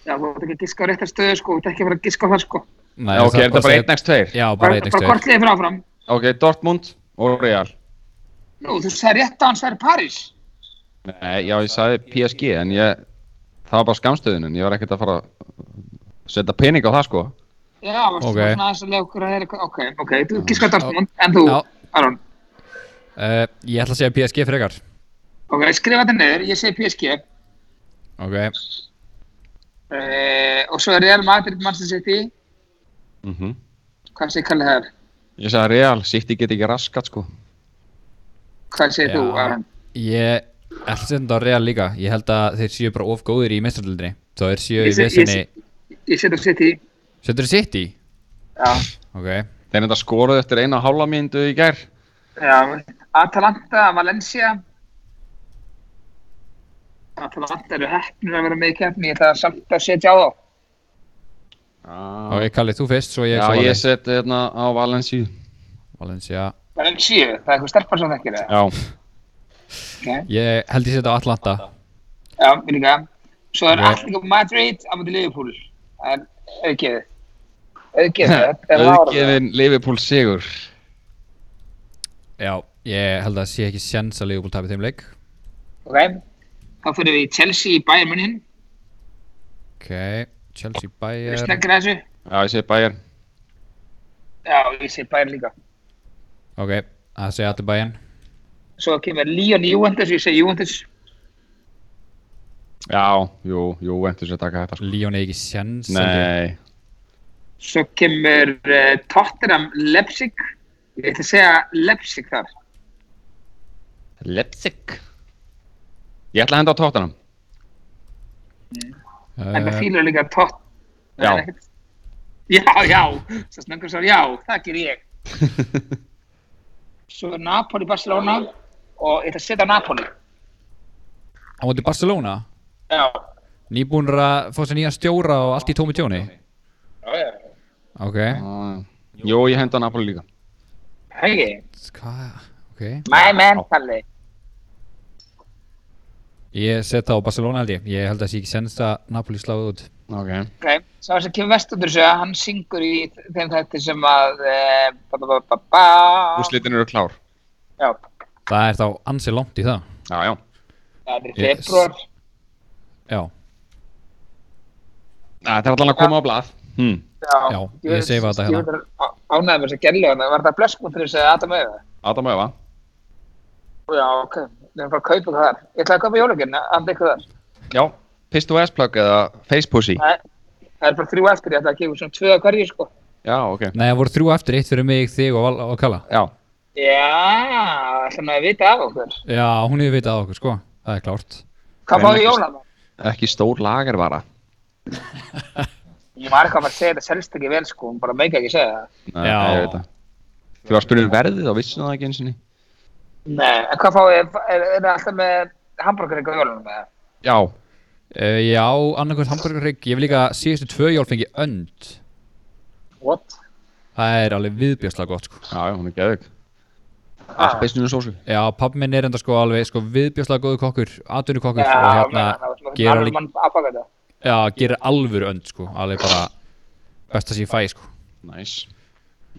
Speaker 3: Já, þú ert ekki að giska á réttar stöðu, sko, þú ert ekki að fara að giska á það, sko.
Speaker 6: Nei,
Speaker 1: já, ok, er þetta bara 1 next 2
Speaker 6: Já, bara
Speaker 3: Bara,
Speaker 6: einn
Speaker 3: bara
Speaker 6: ekstra
Speaker 3: hvort liðið fyrir áfram.
Speaker 1: ok, Dortmund og Real
Speaker 3: Nú, þú sagði rétt að hann sagði París.
Speaker 1: Nei, já, ég sagði PSG en ég, það var bara skamstöðunin ég var ekkert að fara að setja pening á það sko
Speaker 3: Já, varstu
Speaker 6: Ok.
Speaker 3: okay. svona aðeins að lega okkur að það er eitthvað, ok, ok, þú giska á Dortmund, en þú,
Speaker 6: Já.
Speaker 3: Aron.
Speaker 6: uh, Ég ætla að segja PSG frekar
Speaker 3: Ok, skrifa þetta niður, ég segi PSG
Speaker 6: Ok,
Speaker 3: uh, og svo er Real Madrid Manchester City,
Speaker 1: mm
Speaker 3: hvað segir Kalli þar?
Speaker 1: Ég sagði Real, City get ekki raskat sko
Speaker 3: Hvað segir
Speaker 6: Já.
Speaker 3: þú, Aron?
Speaker 6: ég ætla að setja þetta á Real líka Ég held að þeir séu bara of góðir í mestrarlindinni Þá er séu í
Speaker 3: Ég sé- ég
Speaker 6: vesinni
Speaker 3: sé- Ég seti á City,
Speaker 6: Settur þið sitt í?
Speaker 3: já,
Speaker 6: Ok,
Speaker 1: Þeir enda skoruðu eftir eina og hálfa mínútu í gær
Speaker 3: já, Atalanta, Valencia, Atlanta eru heppnir að vera með í keppni, ég ætla samt að setja á þá.
Speaker 1: Já,
Speaker 6: Ok, Kalli, þú fyrst, svo ég
Speaker 1: Já,
Speaker 6: svo
Speaker 1: ég
Speaker 6: Valen-
Speaker 1: seti hérna á Valensi
Speaker 6: Valencia
Speaker 3: Það er enn síu, það er eitthvað stelpar sem þekkir það.
Speaker 1: Já,
Speaker 3: Okay.
Speaker 6: Ég held ég setja á Atlanta
Speaker 3: Já, við líka. Svo er
Speaker 6: Já.
Speaker 3: allir Madrid á myndi Liverpool. Það er auðgeðið. Auðgeðið, þetta er lára.
Speaker 1: auðgefin Liverpool sigur
Speaker 6: Já, ég held að sé ekki sjens að Liverpool tapir þeim leik
Speaker 3: Ok, þá fyrir við í Chelsea í Bayern München.
Speaker 6: Ok, Chelsea
Speaker 3: Eru
Speaker 6: Bayern
Speaker 3: Sneggir að þessu?
Speaker 1: Já, ég segi Bayern
Speaker 3: Já, ég segi Bayern líka.
Speaker 6: Ok, það segja allir Bayern
Speaker 3: Svo kemur Leon Juventus, ég segi Juventus.
Speaker 1: Já, jú, jú, endur sér taka þetta sko.
Speaker 6: Leon er ekki sjens
Speaker 1: Nei,
Speaker 3: Svo kemur uh, Tottenham Leipzig. Ég ætla að segja Leipzig þar.
Speaker 1: Leipzig Ég ætla að henda á tóttanum
Speaker 3: En það
Speaker 6: uh,
Speaker 3: fýlur líka tótt.
Speaker 1: Já.
Speaker 3: Já, já. Svo snöngur svar, já, það ger ég. Svo er Napoli Barcelona og ég ætla að setja Napoli.
Speaker 6: Á móti Barcelona
Speaker 3: Já.
Speaker 6: Nýbúnur að fá sér nýja stjóra og allt í tómi tjóni
Speaker 3: Já, já.
Speaker 6: Ok,
Speaker 1: Jú, ég henda á Napoli líka
Speaker 3: Hei,
Speaker 6: hvað, ok
Speaker 3: my man, Palli.
Speaker 6: Ég setja á Barcelona held ég Ég held að sé ekki sjens að Napoli sláði út
Speaker 1: Ok,
Speaker 3: Ok, svo þess að Kim Vestundur séu að hann syngur í þeim þætti sem að e, ba, ba, ba, ba, ba.
Speaker 1: úrslitin eru klár
Speaker 3: Já,
Speaker 6: Það er þá ansi langt í það
Speaker 1: Já, já,
Speaker 3: það er
Speaker 6: Yes.
Speaker 3: februar
Speaker 6: Já,
Speaker 1: Æ, þetta er allan að koma á blað hm.
Speaker 6: Já, ég segi hvað þetta hérna.
Speaker 3: Ánæði með þess að gerlega hann, var þetta blöskundur þess að Adam Eða?
Speaker 1: Adam Eva
Speaker 3: Já, ok, við erum bara að kaupa eitthvað þar. Ég ætlaði að kaupa jóluginn, andi eitthvað þar.
Speaker 1: Já, Pistu S-plug eða Face Pussy
Speaker 3: Nei, það er bara þrjú eftir, ég ætla að gefa svona tvö að hverju, sko.
Speaker 1: Já, ok
Speaker 6: nei, það voru þrjú eftir, eitt fyrir mig, þig og, Val- og Kalla
Speaker 1: Já,
Speaker 3: Já, ætla maður að vita af okkur.
Speaker 6: Já, hún hefur vitað á okkur, sko Það er klárt
Speaker 3: Hvað fáið jólan?
Speaker 1: ekki stór lagervara
Speaker 3: Ég var eitthvað að fara að segja þetta selst ekki vel, sko, hún bara meika ekki segja það.
Speaker 1: Nei,
Speaker 6: Já.
Speaker 1: ég veit það. Þú var að spyrja um verðið og vissum það ekki eins og ný
Speaker 3: Nei, en hvað fáið, er, er, er það alltaf með hambúrgar ykkur á jólunum með það?
Speaker 1: Já,
Speaker 6: Uh, já, annarkvæmt hambúrgarrygg, ég vil líka síðustu tvö jól fengi önd.
Speaker 3: What?
Speaker 6: Það er alveg viðbjörslega gott, sko.
Speaker 1: já, já, hún er geðvig Appelsinu sósu
Speaker 6: Já, papp minn er enda sko alveg, sko, viðbjörslega góðu kokkur, atvinnu kokkur
Speaker 3: Já,
Speaker 6: og
Speaker 3: menn,
Speaker 6: hérna,
Speaker 3: það
Speaker 6: gerir
Speaker 3: var
Speaker 6: alveg-
Speaker 3: mann aðbaka þetta.
Speaker 6: já, gerir alvöru önd, sko, alveg bara besta sem ég fæ, sko.
Speaker 1: Næs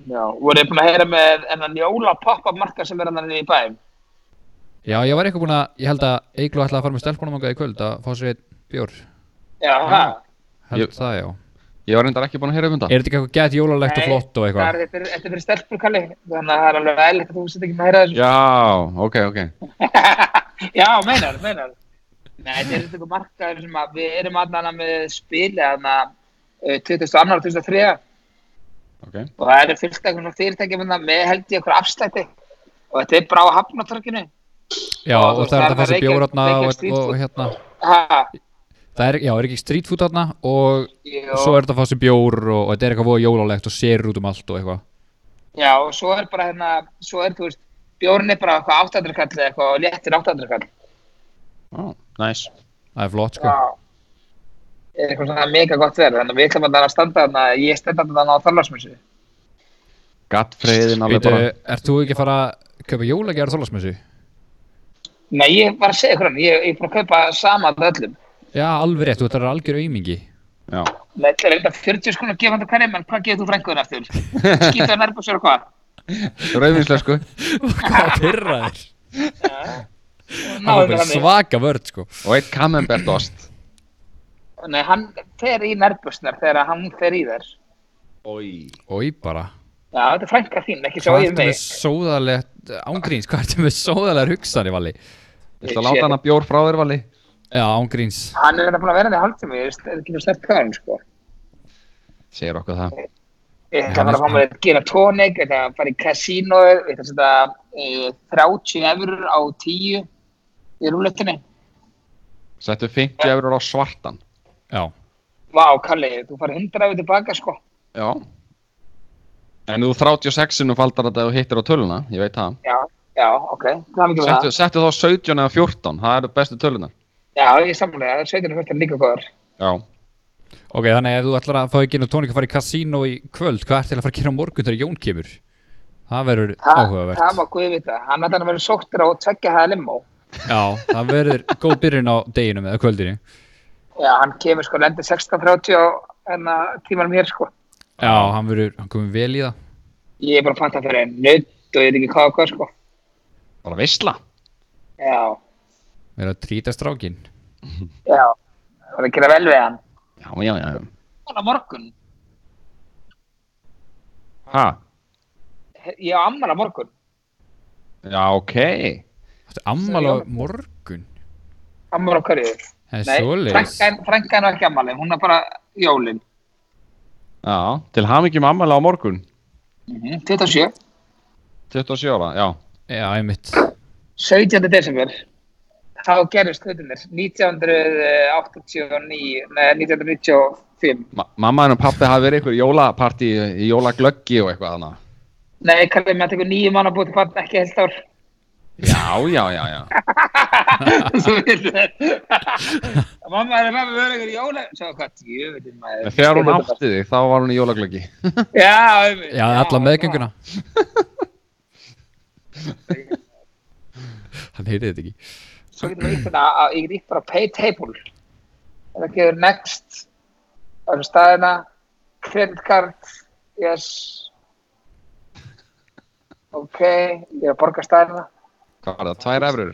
Speaker 3: Já, voruð þið búin að heyra með ennan jóla pop-up marka sem er hann í bæm?
Speaker 6: Já, ég var eitthvað búin að, ég held að Eiklu ætlaði að fara með stelpunum ánga í kvöld að fá sér einn bjór,
Speaker 3: Já, ha?
Speaker 6: held
Speaker 1: Ég-
Speaker 6: það, já.
Speaker 1: Ég var reyndar ekki búin að heyra um þetta
Speaker 6: Er þetta ekki eitthvað gæt jólalegt og
Speaker 3: Nei,
Speaker 6: flott og
Speaker 3: Það
Speaker 6: eitthvað?
Speaker 3: er þetta er- þetta er fyrir stelpur, Kalli, þannig að það er alveg eðlilegt að þú sett ekki með að heyra þessu.
Speaker 1: Já, ok, ok
Speaker 3: Já, meinar, meinar. Nei, þetta er eitthvað markaður sem að við erum allan með spili þarna eh, 2002 og 2003
Speaker 1: Ok,
Speaker 3: og það eru fyllt eitthvað svona fyrirtækjum þarna með held ég eitthvað afslætti og þetta er bara á hafnatorkinu.
Speaker 6: Já,
Speaker 3: Já,
Speaker 6: og
Speaker 3: þú-
Speaker 6: það er
Speaker 3: það
Speaker 6: þetta að fá
Speaker 3: er
Speaker 6: sér bjór
Speaker 3: Reykjavík-
Speaker 6: hérna og,
Speaker 3: Reykjavík
Speaker 6: og
Speaker 3: street
Speaker 6: hérna,
Speaker 3: Ha,
Speaker 6: það er, já, er ekki street food hérna og
Speaker 3: jú.
Speaker 6: og svo er þetta að fá sér bjór og, og þetta er eitthvað voða jólalegt og sér út um allt og eitthvað
Speaker 3: Já, og svo er bara hérna, svo er, þú veist, bjórn er bara eitthvað 800 kall eða eitthvað og léttir 800 kall.
Speaker 1: oh, næs
Speaker 6: það er flott sko
Speaker 3: Já. Er eitthvað svona mega gott verð, þannig að við ætlum að þarna að standa þarna, ég stenda þarna á þarlarsmjössu.
Speaker 1: Gattfreyðin alveg
Speaker 6: Býtu,
Speaker 1: bara
Speaker 6: ert þú ekki að fara að köpa jólagjara þólasmessu?
Speaker 3: Nei, ég var að segja ykkur hann, ég ég er búin að kaupa sama að öllum.
Speaker 6: Já, alveg rétt, þú ert að vera algjör aumingi
Speaker 1: Já,
Speaker 3: Nei, þetta er eitthvað 40 skonar gefandi hverjum, en hvað gefur þú frænguðin aftur? Skýtaðu nærbúsur og hvað?
Speaker 1: rauðvinslega sko
Speaker 6: Hvað að pyrra þér? Það
Speaker 3: Náðu
Speaker 6: er bara
Speaker 3: hann í.
Speaker 6: svaka vörd sko
Speaker 1: Og eitt camembert ost
Speaker 3: Nei, hann fer í nærbúsnar þegar hann fer í þær.
Speaker 1: Oi.
Speaker 6: Oi bara
Speaker 3: Já, þetta er frænka þín, ekki svo
Speaker 6: Hvað
Speaker 3: ég
Speaker 6: ertu með
Speaker 3: mig.
Speaker 4: eh,
Speaker 6: sóðalegt ángríns? Hvað ertu með sóðalegt hugsanir, Valli?
Speaker 1: Viltu að láta hana bjór frá þér, Valli?
Speaker 6: Já, ángríns
Speaker 3: Hann er hérna búin að vera því haldtími, ég veist, er ekki mjög stert hann, sko.
Speaker 1: Segir okkur það
Speaker 3: Ég ætla að fara að fá mér að gera tónik, ég ætla að fara í kasínóið, ég ætla að setja eh, 30 efur á 10 í rúletinni.
Speaker 1: Settu 50 eurur á svartan
Speaker 6: Já,
Speaker 3: Vá, Kalli, þú fari 100 efur tilbaka, sko.
Speaker 1: Já En þú 36 faldar þetta og hittir á töluna, ég veit það
Speaker 3: Já, já, ok, það er mikið með það.
Speaker 1: Settu, settu þá 17 eða 14, það eru bestu tölunar
Speaker 3: Já, ég samlega, sveitina fyrst er líka góður.
Speaker 1: Já,
Speaker 4: Ok, þannig ef þú ætlar að fá ekki inn og tónik að fara í kasínó í kvöld, hvað ert til að fara að gera á morgun þegar Jón kemur? Það verður
Speaker 3: Þa-
Speaker 4: áhugavert.
Speaker 3: Það má guði vita, hann ætlar að vera sóttur á tveggja hæða limó.
Speaker 4: Já, það verður góð byrjun á deginum eða kvöldinu.
Speaker 3: Já, hann kemur sko, lendir 16.30 á enna tímanum hér sko.
Speaker 4: Já, hann verður, hann komið vel í það.
Speaker 3: Ég er bara að fatta fyrir nutt og ég veit ekki hvað og hvað sko.
Speaker 1: bara veistla.
Speaker 3: Já,
Speaker 4: Verður að trýta strákin.
Speaker 3: já, það er að gera vel við hann.
Speaker 1: Já, já, já.
Speaker 3: Hann á morgun,
Speaker 1: Ha?
Speaker 3: ég á amman á morgun.
Speaker 1: Já, ok.
Speaker 4: Þetta er ammála morgun.
Speaker 3: Amman á hverju?
Speaker 4: Það
Speaker 3: Nei,
Speaker 4: er svoleiðis.
Speaker 3: frænkan- frænkan á ekki ammali, hún er bara jólin.
Speaker 1: Já, til hamingjum ammæla á morgun.
Speaker 3: Mm -hmm. 27,
Speaker 1: 27 ára, já.
Speaker 4: Já, einmitt.
Speaker 3: 17. desember, þá gerist hlutinir, 1989, nei, 1995.
Speaker 1: Ma mamma henn og pappi hafi verið ykkur jólapartí í jólaglöggi og eitthvað annað.
Speaker 3: Nei, kallið með að tekur nýju mann að búið til barn, ekki heilt ár.
Speaker 1: Já, já, já, já.
Speaker 3: Svo við Mamma er með að vera ykkur jóla. Svo hvað, jöfnir maður.
Speaker 1: En Þegar hún átti þig, þá var hún í jólaglöggi.
Speaker 3: Já, einmitt.
Speaker 4: Já, alla meðgönguna. Hann heyrði þetta ekki.
Speaker 3: Svo getur við íttuna að ég get ítt bara pay table. Það gefur next, það eru staðina, credit card, yes. Ok, ég er að borga staðina.
Speaker 1: Hvað var það, tvær efrur?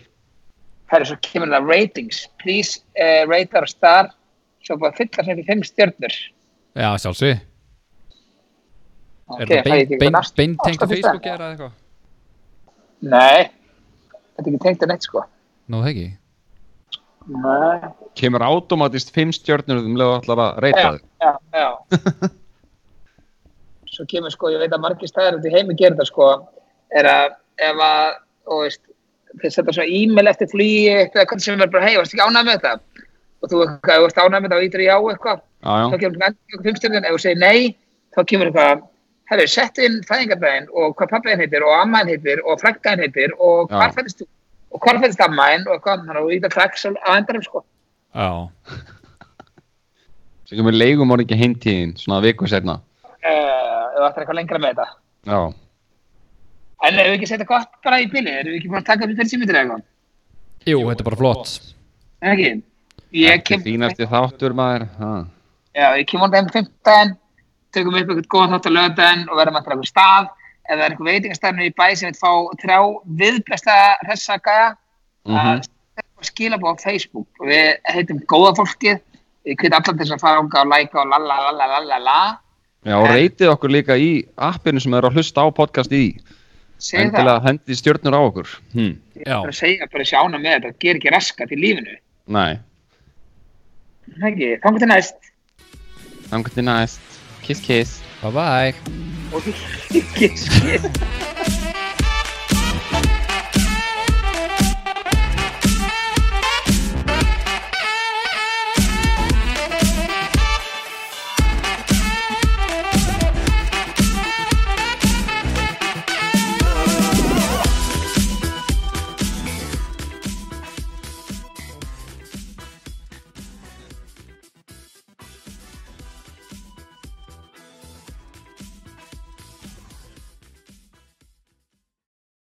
Speaker 3: Herri, svo kemur það ratings. Please uh, rate our star. Svo bara fylla sem fyrir fimm stjörnur.
Speaker 4: Já, sjálfsög.
Speaker 3: Ok,
Speaker 4: Er það
Speaker 3: fæ ég ekki
Speaker 4: bein- bein-
Speaker 3: næst-
Speaker 4: beintengt á
Speaker 3: næsta
Speaker 4: Facebook
Speaker 3: stjörnu?
Speaker 4: eða eitthvað?
Speaker 3: Nei, þetta er ekki tengt að neitt sko.
Speaker 4: Nú, það ekki.
Speaker 3: Nei.
Speaker 1: Kemur automatist fimm stjörnur um leðu allar að reyta
Speaker 3: Já,
Speaker 1: þig.
Speaker 3: já, já. Svo kemur sko, ég veit að margir staðar út í heimi gerir þetta sko, er að ef að, og veist, þeir setja svona e-mail eftir flugi eitthvað, hvernig sem er bara, hei, varstu ekki ánægð með þetta? Og þú eitthvað, ef þú varst ánægð með þetta og ítir í á eitthvað,
Speaker 1: Já,
Speaker 3: þá
Speaker 1: já.
Speaker 3: kemur ekki fimmstjörnum, ef þú segir nei, þá kemur eitthvað, herru, sett inn fæðingardaginn og hvað pappiðin heitir og ammaðin heitir og frækkaðin heitir og
Speaker 1: Já.
Speaker 3: hvað fættist þú? Og hvað fættist ammaðin og eitthvað, þannig að þú ítir fræks á endanum sko.
Speaker 4: Já.
Speaker 1: Sem kemur leigum orðingi heimtíðin, svona viku setna.
Speaker 3: Uh, ef þú ættir eitthvað lengra með þetta.
Speaker 1: Já.
Speaker 3: En erum við ekki að setja gott bara í bili? Erum við ekki búin að taka upp í fyrir símyndir eða eitthvað?
Speaker 4: Jú, þetta er bara flott.
Speaker 3: Er Ekki? Ég
Speaker 1: Kem...
Speaker 3: kem,
Speaker 1: Þínasti þáttur maður. Ha.
Speaker 3: já, ég kem vonandi heim 15, tökum upp eitthvað góðan þátt á löðan og verðum alltaf eitthvað stað. Ef það er eitthvað veitingastæðinu í bæ sem við fá þrjá viðblesta hressa gæja,
Speaker 1: Mm
Speaker 3: að skila búið á Facebook. Við heitum góða fólkið, ég hvita allar til þess að fara ánga og læka og la la la la la la la.
Speaker 1: Já, og reytið okkur líka í appinu sem er að hlusta á podcast í.
Speaker 3: Segðu það,
Speaker 1: Endilega hendi stjörnur á okkur. Hm.
Speaker 3: ég er bara að segja, bara sjána með þetta, ger ekki raskat í lífinu.
Speaker 1: Nei.
Speaker 3: Er það Ekki, þangur til næst.
Speaker 1: Þannig til næst. Kiss, kiss.
Speaker 4: Bye bye.
Speaker 3: Og ekki skil.